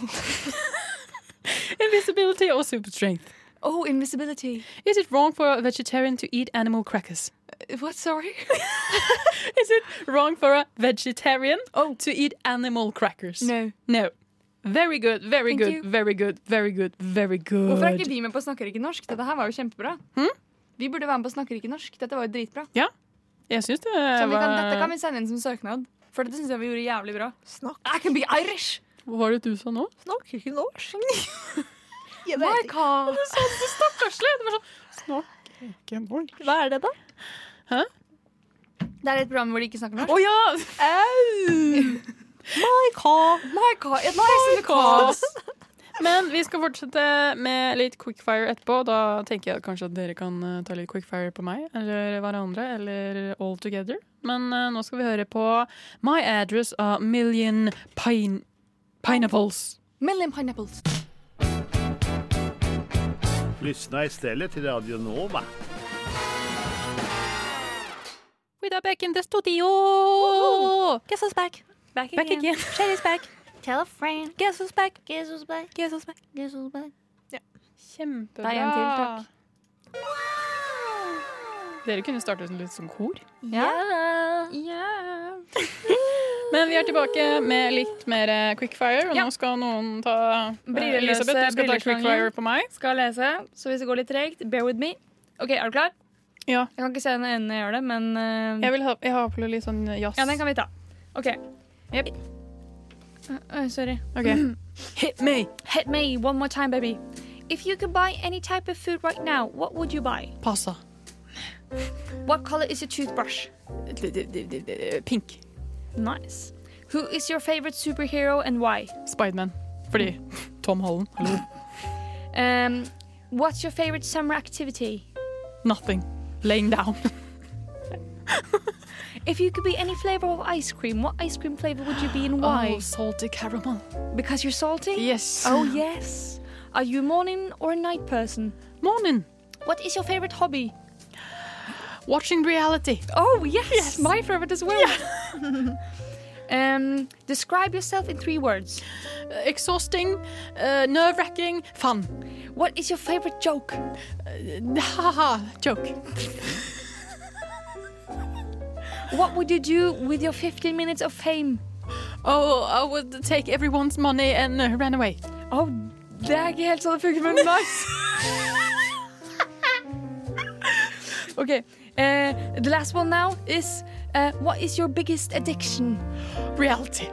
Invisibility or super strength? oh, invisibility. Is it wrong for a vegetarian to eat animal crackers? Uh, What? (laughs) Sorry. Is it wrong for a vegetarian oh. to eat animal crackers? no. No. Very good, very Thank good, you. very good, very good, very good. Hvorfor er ikke vi med på Snakker ikke norsk? Dette her var jo kjempebra. Vi burde være med på Snakker ikke norsk. Dette var jo dritbra. Jeg syns det Så vi kan, var dette kan vi sende inn som søknad. For dette syns jeg vi gjorde jævlig bra. Snakk, I can be Irish! Hva var det du sa nå? snakk ikke norsk. Jeg My vet ikke. God. Stakkarslig! Det var sånn Snakk ikke norsk. Hva er det, da? Det er et program hvor de ikke snakker norsk. Å ja! (laughs) My Oh, God. My God, it lies in the cause. Men vi skal fortsette med litt quickfire etterpå. Da tenker jeg kanskje at dere kan eh, ta litt quickfire på meg eller hverandre eller all together. Men eh, nå skal vi høre på My Address A Million Pine Pineapples. Million pineapples. Lyssna istället till Radio Nova. With a back in the studio! Guess who's back? Back Back (laughs) again. Sherry's back. Tell a friend. Guess who's back? Guess who's back? Guess who's back? Guess who's back? Kjempebra. Det er en til, takk. Dere kunne starte som litt som kor. Yeah. Men vi er tilbake med litt mer eh, quickfire, og Ja. nå skal noen ta eh, Brilleløse Elisabeth, du skal ta brilleslangen. quickfire på meg. Skal lese, så hvis det går litt tregt, bear with me. Ok, Er du klar? Ja. Jeg kan ikke se når øynene gjør det, men eh, Jeg, vil ha, jeg har på litt sånn jazz. Ja, den kan vi ta. OK. Yep. sorry. Ok. Hit me. Hit me one more time, baby. If you could buy any type of food right now, what would you buy? Passa. What color is your toothbrush? Pink. Nice. Who is your favorite superhero and why? Spiderman. Fordi Tom Holland. Hallo. Um, what's your favorite summer activity? Nothing. Laying down. If you could be any flavor of ice cream, what ice cream flavor would you be (laughs) and Why? why? Oh, salty caramel. Because you're salty? Yes. Oh, yes. Are you a morning or a night person? Morning. What is your favorite hobby? Watching reality. Oh, yes. My favorite as well. (laughs) um, describe yourself in three words. Uh, Exhausting. Uh, Nerve-wracking. Fun. (laughs) What is your favorite joke? Ha-ha. Joke. What would you do with your 15 minutes of fame? Oh, I would take everyone's money and uh, ran away. Oh, det er ikke helt sånn det funker, men nice. okay. Uh, the last one now is uh, what is your biggest addiction? Reality.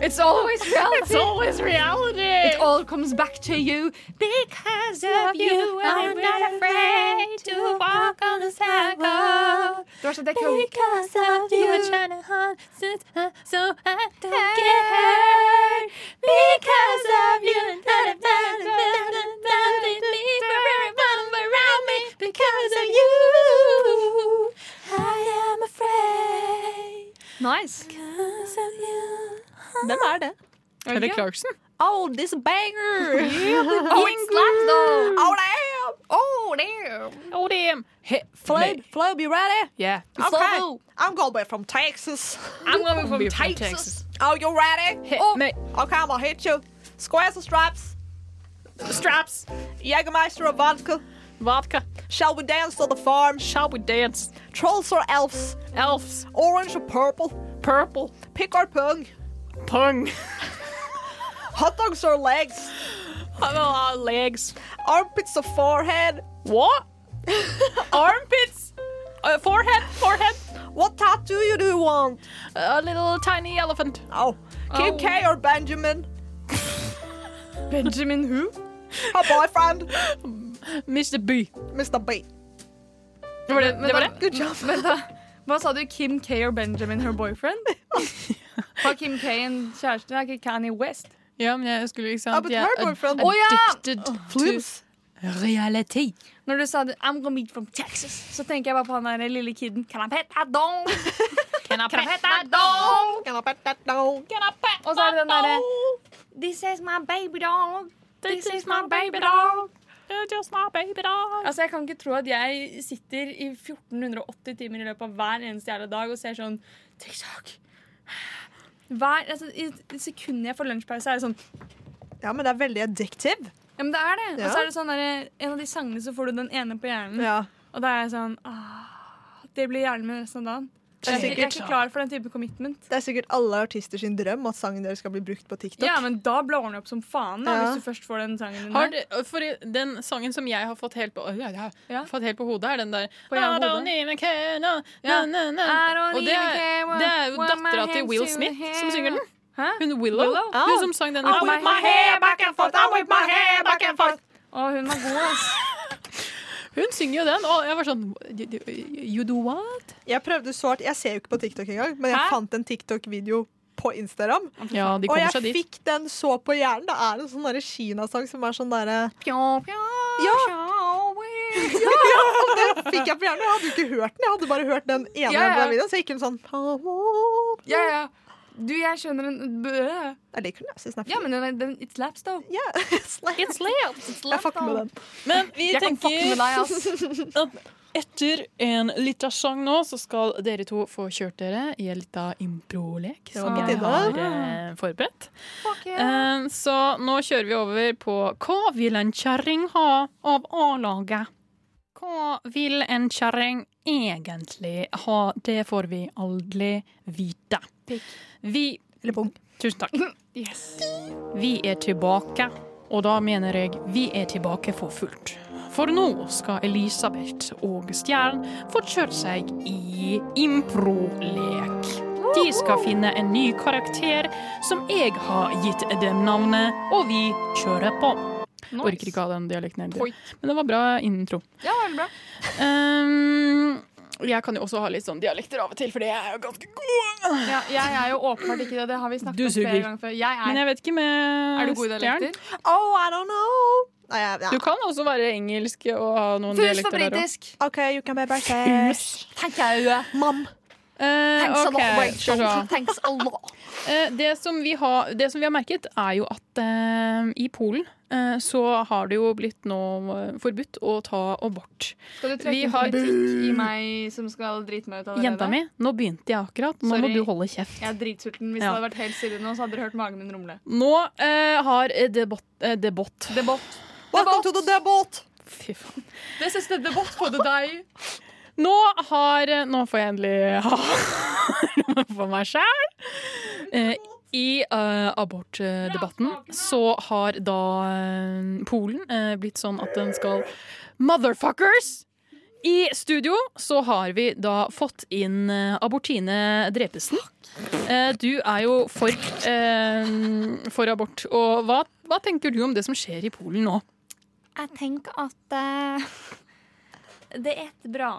It's (laughs) always reality. It's always reality. It all comes back to you because of you. I'm not afraid to walk on the sidewalk. Du har sett det kul. Because of you. You're trying to hunt so I don't get hurt. Because of you. Everyone around me because of you. I am afraid. Nice. Hvem er det? Er det Clarkson? Oh, this (laughs) banger! Oh, it slaps though. Oh, damn! Oh, damn. Oh, damn. Hit. Flo, Flo, be ready? Yeah. Okay. I'm gonna be from Texas. (laughs) I'm going from Be from Texas. Texas. Oh, you ready? Hit oh. me. Okay, I'm gonna hit you. Squares and stripes. Straps. Jägermeister and vodka. Vodka. Shall we dance to the farm? Shall we dance? Trolls or elves? Elves. Orange or purple? Purple. Pick or pung? Pung. Hot dogs or legs? Oh, legs. Armpits or forehead? What? Armpits. Uh, forehead. Forehead. What tattoo you do want? A little tiny elephant. Oh, Kim Oh. K or Benjamin? Benjamin who? Her boyfriend? Mr. B. Mr. B. Var det, det var det? Good job. Vent da. Hva sa du? Kim K og Benjamin, her (laughs) boyfriend? Har Kim K en kjæreste? Er ikke Kanye West? Ja, men jeg skulle liksom Abbott Harbour fra- Å, ja! Addicted Flips. to reality. Når du sa det, I'm gonna meet from Texas, så tenker jeg bare på han der lille kiden. Can I pet that dog? (laughs) Can I pet that dog? Can I pet that dog? Can I pet Og så er det den derre This is my baby dog. This is my baby dog. Just my baby dog. Altså, Jeg kan ikke tro at jeg sitter i 1480 timer i løpet av hver eneste jævla dag og ser sånn TikTok. Hver, altså, I i sekundet jeg får lunsjpause, er det sånn Ja, men det er veldig addictive. Ja, men det er det. Og Ja. så er det sånn derre En av de sangene, så får du den ene på Mm. hjernen. Og da er jeg sånn «Ah, Det blir hjernen min resten av dagen. Det er Jeg, jeg er sikkert- ikke klar for den type commitment. Det er sikkert alle artister sin drøm at sangen deres skal bli brukt på TikTok. Ja, men da blår den opp som faen, da, Ja. hvis du først får den sangen din. Har der. du- for i- den sangen som jeg har fått helt på, ja, ja, fått helt på hodet, er den der På jeg I hodet. don't even care, no, Ja. no, no, no. I don't Og det even care er, what- det er jo what my dattera til hands Will do Smith here. som synger den. Hun Willow. Willow? Ah. Hun som sang den. I whip my hair back and forth, I whip my hair back and forth. Å, hun var god, ass. hun synger jo den, og jeg var sånn you, you do what? Jeg prøvde så hardt. Jeg ser jo ikke på TikTok engang, men jeg fant en TikTok-video på Instagram. Ja, de og kommer jeg seg dit. fikk den så på hjernen. Det er en sånn derre Kina-sang som er sånn derre Ja! ja, (laughs) og den fikk jeg på hjernen. Jeg hadde jo ikke hørt den. Jeg hadde bare hørt den Ja, ene ja. fra videoen, så jeg gikk den sånn Ja, ja. Du, jeg skjønner den Jeg liker den. Jeg synes den er Ja, men den, er- den, it slaps, though. (laughs) It slaps. It slaps, Jeg fucker med though. den. Men vi Jeg kan fucke med deg, tenker at etter en liten sang nå, så skal dere to få kjørt dere i en liten improlek Det var som på jeg tide. har eh, forberedt. Eh, så nå kjører vi over på Hva vil en kjerring ha av A-laget? Hva vil en kjerring egentlig ha? Det får vi aldri vite. Vi Tusen takk. Vi er tilbake, og da mener jeg vi er tilbake for fullt. For nå skal Elisabeth og Stjern få kjørt seg i improlek. De skal finne en ny karakter som jeg har gitt dem navnet, og vi kjører på. Orker ikke ha den dialekten jeg gjør. Men det var bra intro. (laughs) Ja, veldig bra. Ehm, jeg kan jo også ha litt sånn dialekter av og til, for det er jo ganske Ja, jeg er jo åpenbart ikke det. Det har vi snakket Du om flere suger. ganger før. Jeg er, Men jeg vet ikke med er du god i Stjern. dialekter? Oh, I don't know. Nei, jeg, Du kan også være engelsk og ha noen dialekter der også. OK, you can be British. Tenker jeg jo. Mam. Eh, ok, skal vi se. Eh, det, som vi har, det som vi har merket, er jo at eh, i Polen eh, så har det jo blitt nå eh, forbudt å ta abort. Skal du Vi trekke har- politikk i meg som skal drite meg ut allerede? Jenta mi, nå begynte jeg akkurat. Nå Sorry. må du holde kjeft. Jeg er dritsulten. Hvis Ja. det hadde vært helt stille nå, så hadde dere hørt magen min rumle. Nå eh, har eh, debott, eh, debott Welcome to the debot! Fy faen. This is the debot for the day. Nå har Nå får jeg endelig ha (laughs) noe for meg sjæl. I eh, abortdebatten så har da eh, Polen eh, blitt sånn at den skal Motherfuckers! I studio så har vi da fått inn eh, Abortine Drepesen. Eh, Du er jo for, eh, for abort. Og hva, hva tenker du om det som skjer i Polen nå? Jeg tenker at eh, det er ikke bra.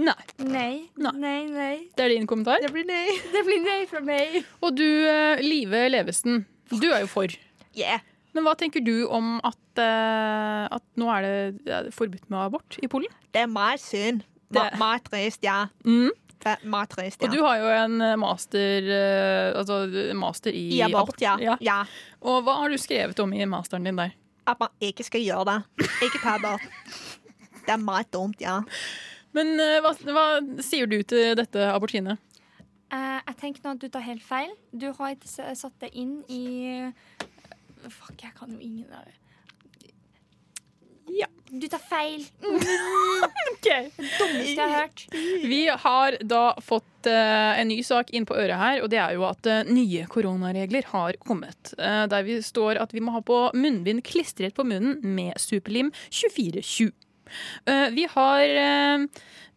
Nei. Nei, Nei. nei, nei. Det er din kommentar? Det blir nei. Det blir nei fra meg. Og du, eh, Live Levesten, du er jo for. Yeah. Men hva tenker du om at, eh, at nå er det, er det forbudt med abort i Polen? Det er meg synd. Det- Meg trist, ja. Mm. Det er meg trist, Og du ja. har jo en eh, master, eh, altså master i, I abort, ja. Ja. Og hva har du skrevet om i masteren din der? At man ikke skal gjøre det. Ikke ta abort. Det er meg dumt, ja. Men eh, hva, hva sier du til dette abortinet? Eh, jeg tenker nå at du tar helt feil. Du har ikke s- satt det inn i Fuck, jeg kan jo ingen av det. Ja. Du tar (laughs) feil. Mm. okay. Det dummeste jeg har hørt. Vi har da fått eh, en ny sak inn på øret her, og det er jo at eh, nye koronaregler har kommet. Eh, der vi står at vi må ha på munnbind klistret på munnen med superlim 24-20. Eh, vi har eh,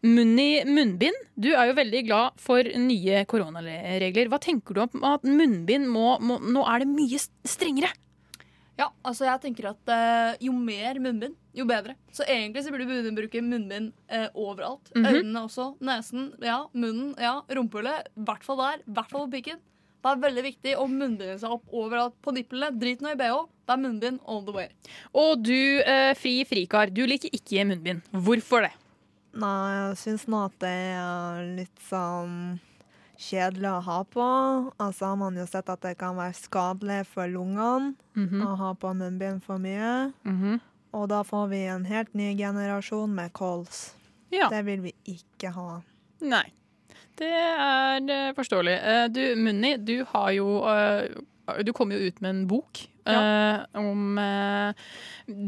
munn i munnbind. Du er jo veldig glad for nye koronaregler. Hva tenker du om at munnbind må, må Nå er det mye strengere? Ja, altså jeg tenker at eh, jo mer munnbind, jo bedre. Så egentlig så burde vi begynne å bruke munnbind eh, overalt. Mhm. Øynene også, nesen, ja, munnen, ja, rumpehullet. I hvert fall der, i hvert fall på pikken. Det er veldig viktig å munnbinde seg opp overalt på nipplene. Drit nå i bh, det er munnbind all the way. Og du, eh, Fri Frikar, du liker ikke munnbind. Hvorfor det? Nei, jeg syns nå at det er litt sånn kjedelig å ha på. Altså har man jo sett at det kan være skadelig for lungene Mhm. å ha på munnbind for mye. Og da får vi en helt ny generasjon med kols. Det vil vi ikke ha. Nei. Det er eh, forståelig. Eh, Du, Munni, du har jo eh, Du kom jo ut med en bok eh, om eh,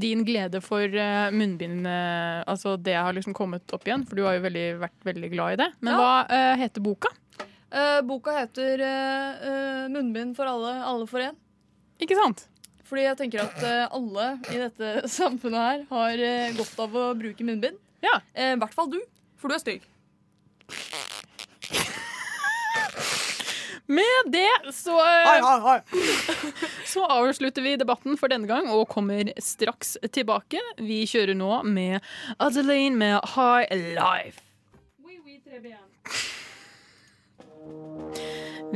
din glede for eh, munnbind. eh, altså det har liksom kommet opp igjen, for du har jo veldig, vært veldig glad i det. Men Ja. hva eh, heter boka? Eh, boka heter eh, eh, 'Munnbind for alle, alle for én'. Ikke sant? Fordi jeg tenker at eh, alle i dette (laughs) samfunnet her har eh, godt av å bruke munnbind. Eh, I hvert fall du, for du er stygg. Med det så eh, Så avslutter vi debatten for denne gang og kommer straks tilbake. Vi kjører nå med Adeline med High Life.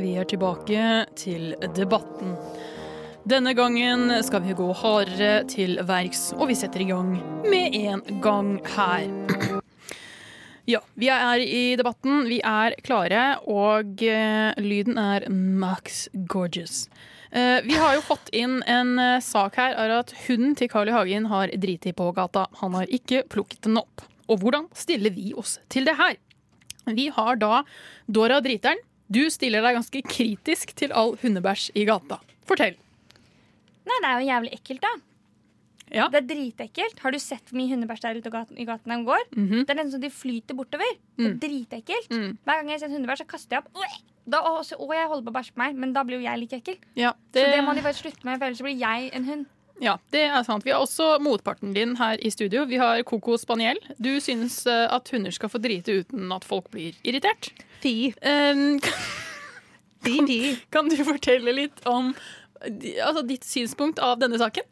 Vi er tilbake til debatten. Denne gangen skal vi gå hardere til verks, og vi setter i gang med en gang her. Ja, vi er i debatten. Vi er klare, og eh, lyden er max gorgeous. Eh, vi har jo fått inn en eh, sak her er at hunden til Carl I. Hagen har driti på gata. Han har ikke plukket den opp. Og hvordan stiller vi oss til det her? Vi har da Dora Driteren. Du stiller deg ganske kritisk til all hundebæsj i gata. Fortell. Nei, det er jo jævlig ekkelt, da. Ja. Det er dritekkelt. Har du sett hvor mye hundebæsj det er ute i gaten- i gatene de går? Mhm. Det er nesten så de flyter bortover. Mm. Det er dritekkelt. Mm. Hver gang jeg ser hundebæsj, så kaster jeg opp. Oi! Da, og, så, og jeg holder på å bæsje på meg, men da blir jo jeg like ekkel. Ja, Så det Eh, må de bare slutte med, for ellers blir jeg en hund. Ja, det er sant. Vi har også motparten din her i studio. Vi har Coco Spaniel. Du syns eh, at hunder skal få drite uten at folk blir irritert. Ehm, Fy. (laughs) kan, kan du fortelle litt om di- altså, ditt synspunkt av denne saken?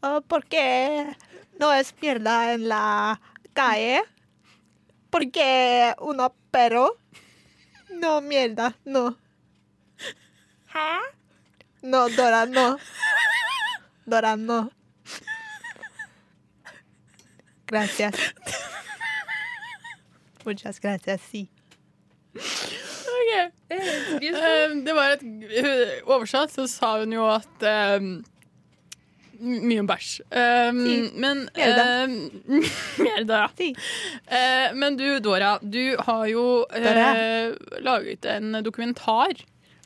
Ah, porque no es mierda en la calle. Porque uno perro. No mierda, no. Hæ? No, Dora, no. Dora, no. Gracias. Muchas gracias, sí. Eh, det var et eh, Oversatt så sa hun jo at eh, m- Mye om bæsj. Eh, men Merda. eh, (laughs) Merda, ja. Eh, men du, Dora, du har jo eh, Dora. laget en dokumentar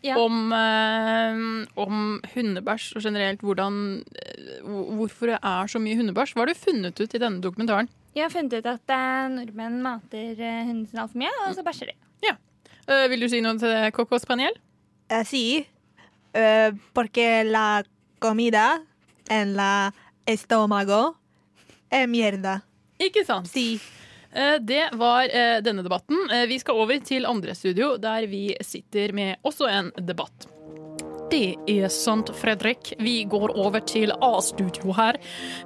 Ja. om, eh, om hundebæsj og generelt hvordan eh, hvor- Hvorfor det er så mye hundebæsj. Hva har du funnet ut i denne dokumentaren? Jeg har funnet ut at eh, nordmenn mater eh, hundene sine altfor mye, og så bæsjer de. Eh, vil du si noe til det, Coco Spaniel? Eh, sí, eh, porque la comida en la estómago es mierda. Ikke sant? Eh, Det var eh, denne debatten. Eh, Vi skal over til andre studio, der vi sitter med også en debatt. Det er sant, Fredrik. Vi går over til A-studio her.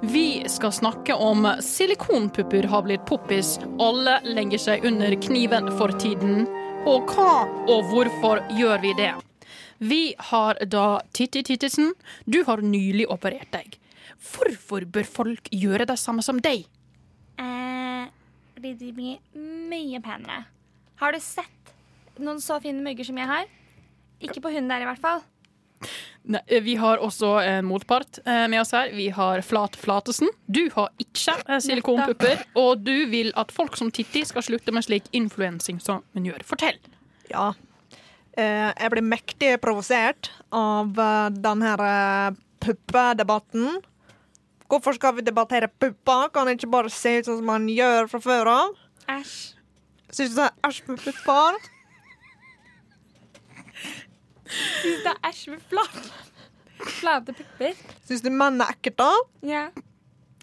Vi skal snakke om silikonpupper har blitt poppis. Alle legger seg under kniven for tiden. Og hva og hvorfor gjør vi det? Vi har da Titti Tittisen. Du har nylig operert deg. Hvorfor bør folk gjøre det samme som deg? Eh, fordi de blir mye penere. Har du sett noen så fine mugger som jeg har? Ikke på hunden der, i hvert fall. Nei, eh, vi har også en motpart eh, med oss her. Vi har Flat Flatesen. Du har ikke eh, silikonpupper, og du vil at folk som Titti skal slutte med slik influensing som hun gjør. Fortell! Ja. Eh, jeg blir mektig provosert av eh, den her eh, puppedebatten. Hvorfor skal vi debattere pupper? Kan ikke bare se ut sånn som man gjør fra før av? Æsj. Syns du det er æsj med pupper? Syns det er æsj med flat. flate pupper. Syns du menn er ekkelt, da? Ja.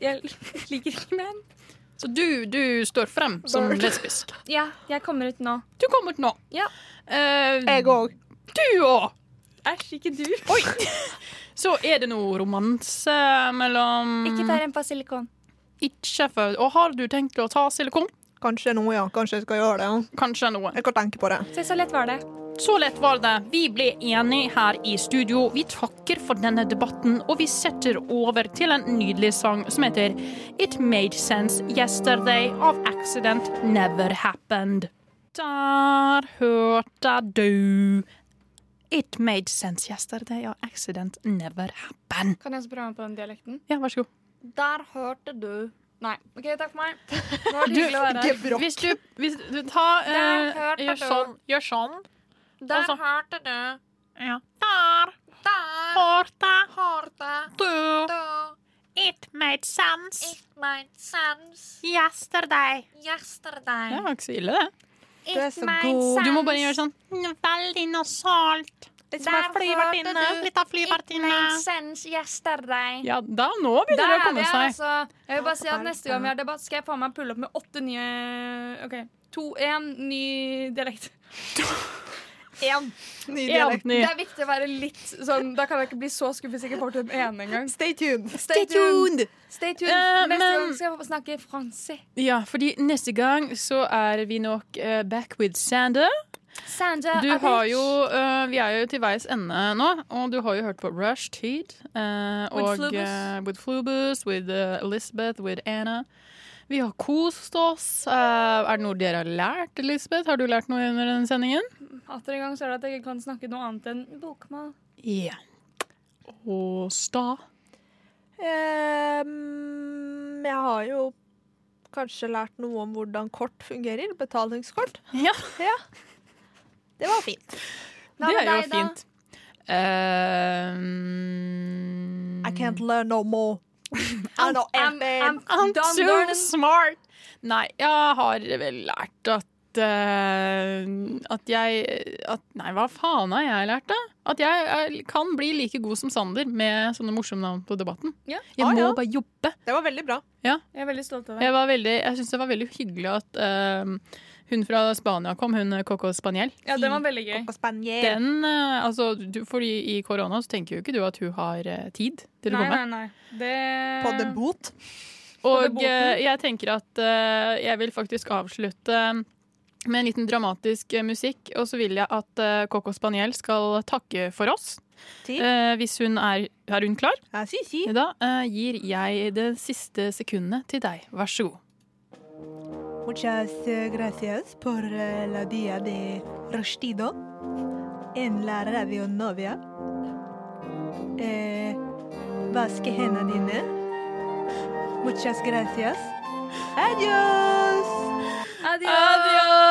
Jeg liker ikke menn. Så du, du står frem som Bare- lesbisk? Ja, jeg kommer ut nå. Du kommer ut nå? Ja. Eh, jeg òg. Du òg! Æsj, ikke du. Oi! Så er det noe romanse mellom Ikke ta rempa silikon. Ikke for Og har du tenkt å ta silikon? Kanskje noe, ja. Kanskje jeg skal gjøre det. ja. Kanskje noe. Jeg skal tenke på det. Se, så lett var det. Så lett var det. Vi ble enige her i studio. Vi takker for denne debatten, og vi setter over til en nydelig sang som heter It Made Sense Yesterday av Accident Never Happened. Der hørte du It Made Sense Yesterday av Accident Never Happened. Kan jeg også prøve meg på den dialekten? Ja, vær så god. Der hørte du Nei. OK, takk for (laughs) meg. Det var hyggelig å være her. hvis du, hvis du tar Der eh, hørte Gjør du. sånn. Gjør sånn. Der Altså- hørte du. Ja. Der. Hørte. Du. It made sense. It made sense yesterday. yesterday. Det var ikke så ille, det. It made Du sense. må bare gjøre sånn. Veldig nasalt. som en flyvertinne. Litt av flyvertinne. Sense yesterday. Ja, da nå begynner det Der å er vi komme her, seg. altså. Jeg vil bare si at neste gang vi har debatt, skal jeg faen meg pulle opp med åtte nye OK. To, én ny dialekt. Én ny dialekt. Det er viktig å være litt sånn Da kan jeg ikke bli så skuffet hvis jeg ikke får til den ene engang. Stay tuned. Stay tuned. Stay tuned. Eh, Neste men- gang skal jeg snakke fransk. Ja, fordi neste gang så er vi nok eh, back with Sander. Sander Du Abic. har jo, eh, vi er jo til veis ende nå, og du har jo hørt på Rush Teed. eh, With og, Flubus. eh, with Flubus, with eh, Elizabeth, with Anna. Vi har kost oss. Eh, er det noe dere har lært, Elisabeth? Har du lært noe under den sendingen? Atter en gang så er det at jeg ikke kan snakke noe annet enn bokmål. Ja. Og sta. Ehm, jeg har jo kanskje lært noe om hvordan kort fungerer. Betalingskort. Ja. Det var fint. Det er jo fint. Eh, I can't learn no (laughs) more. Ah, I know Mm. everything. I'm Done, too done. smart! Nei, jeg har vel lært at eh, At jeg at, Nei, hva faen har jeg lært, da? At jeg, er- kan bli like god som Sander med sånne morsomme navn på Debatten. Ja. Jeg Ah, må ja. bare jobbe. Det var veldig bra. Ja. Jeg er veldig stolt av Jeg, deg. var veldig, jeg syns det var veldig hyggelig at eh, hun fra Spania kom, hun eh, Coco Spaniel. Ja, den var veldig gøy. Den, eh, altså, du, fordi i korona så tenker jo ikke du at hun har eh, tid til å Nei, komme. nei, nei. Det- På debut. Og eh, jeg tenker at eh, jeg vil faktisk avslutte med en liten dramatisk eh, musikk, og så vil jeg at eh, Coco Spaniel skal takke for oss. Eh, hvis hun er, er hun klar? Da eh, gir jeg det siste sekundet til deg. Vær så god. Muchas eh, gracias por eh, la día de Rostido en la radio novia. Eh, vaske hendene dine. Muchas gracias. Adios! Adios! Adios!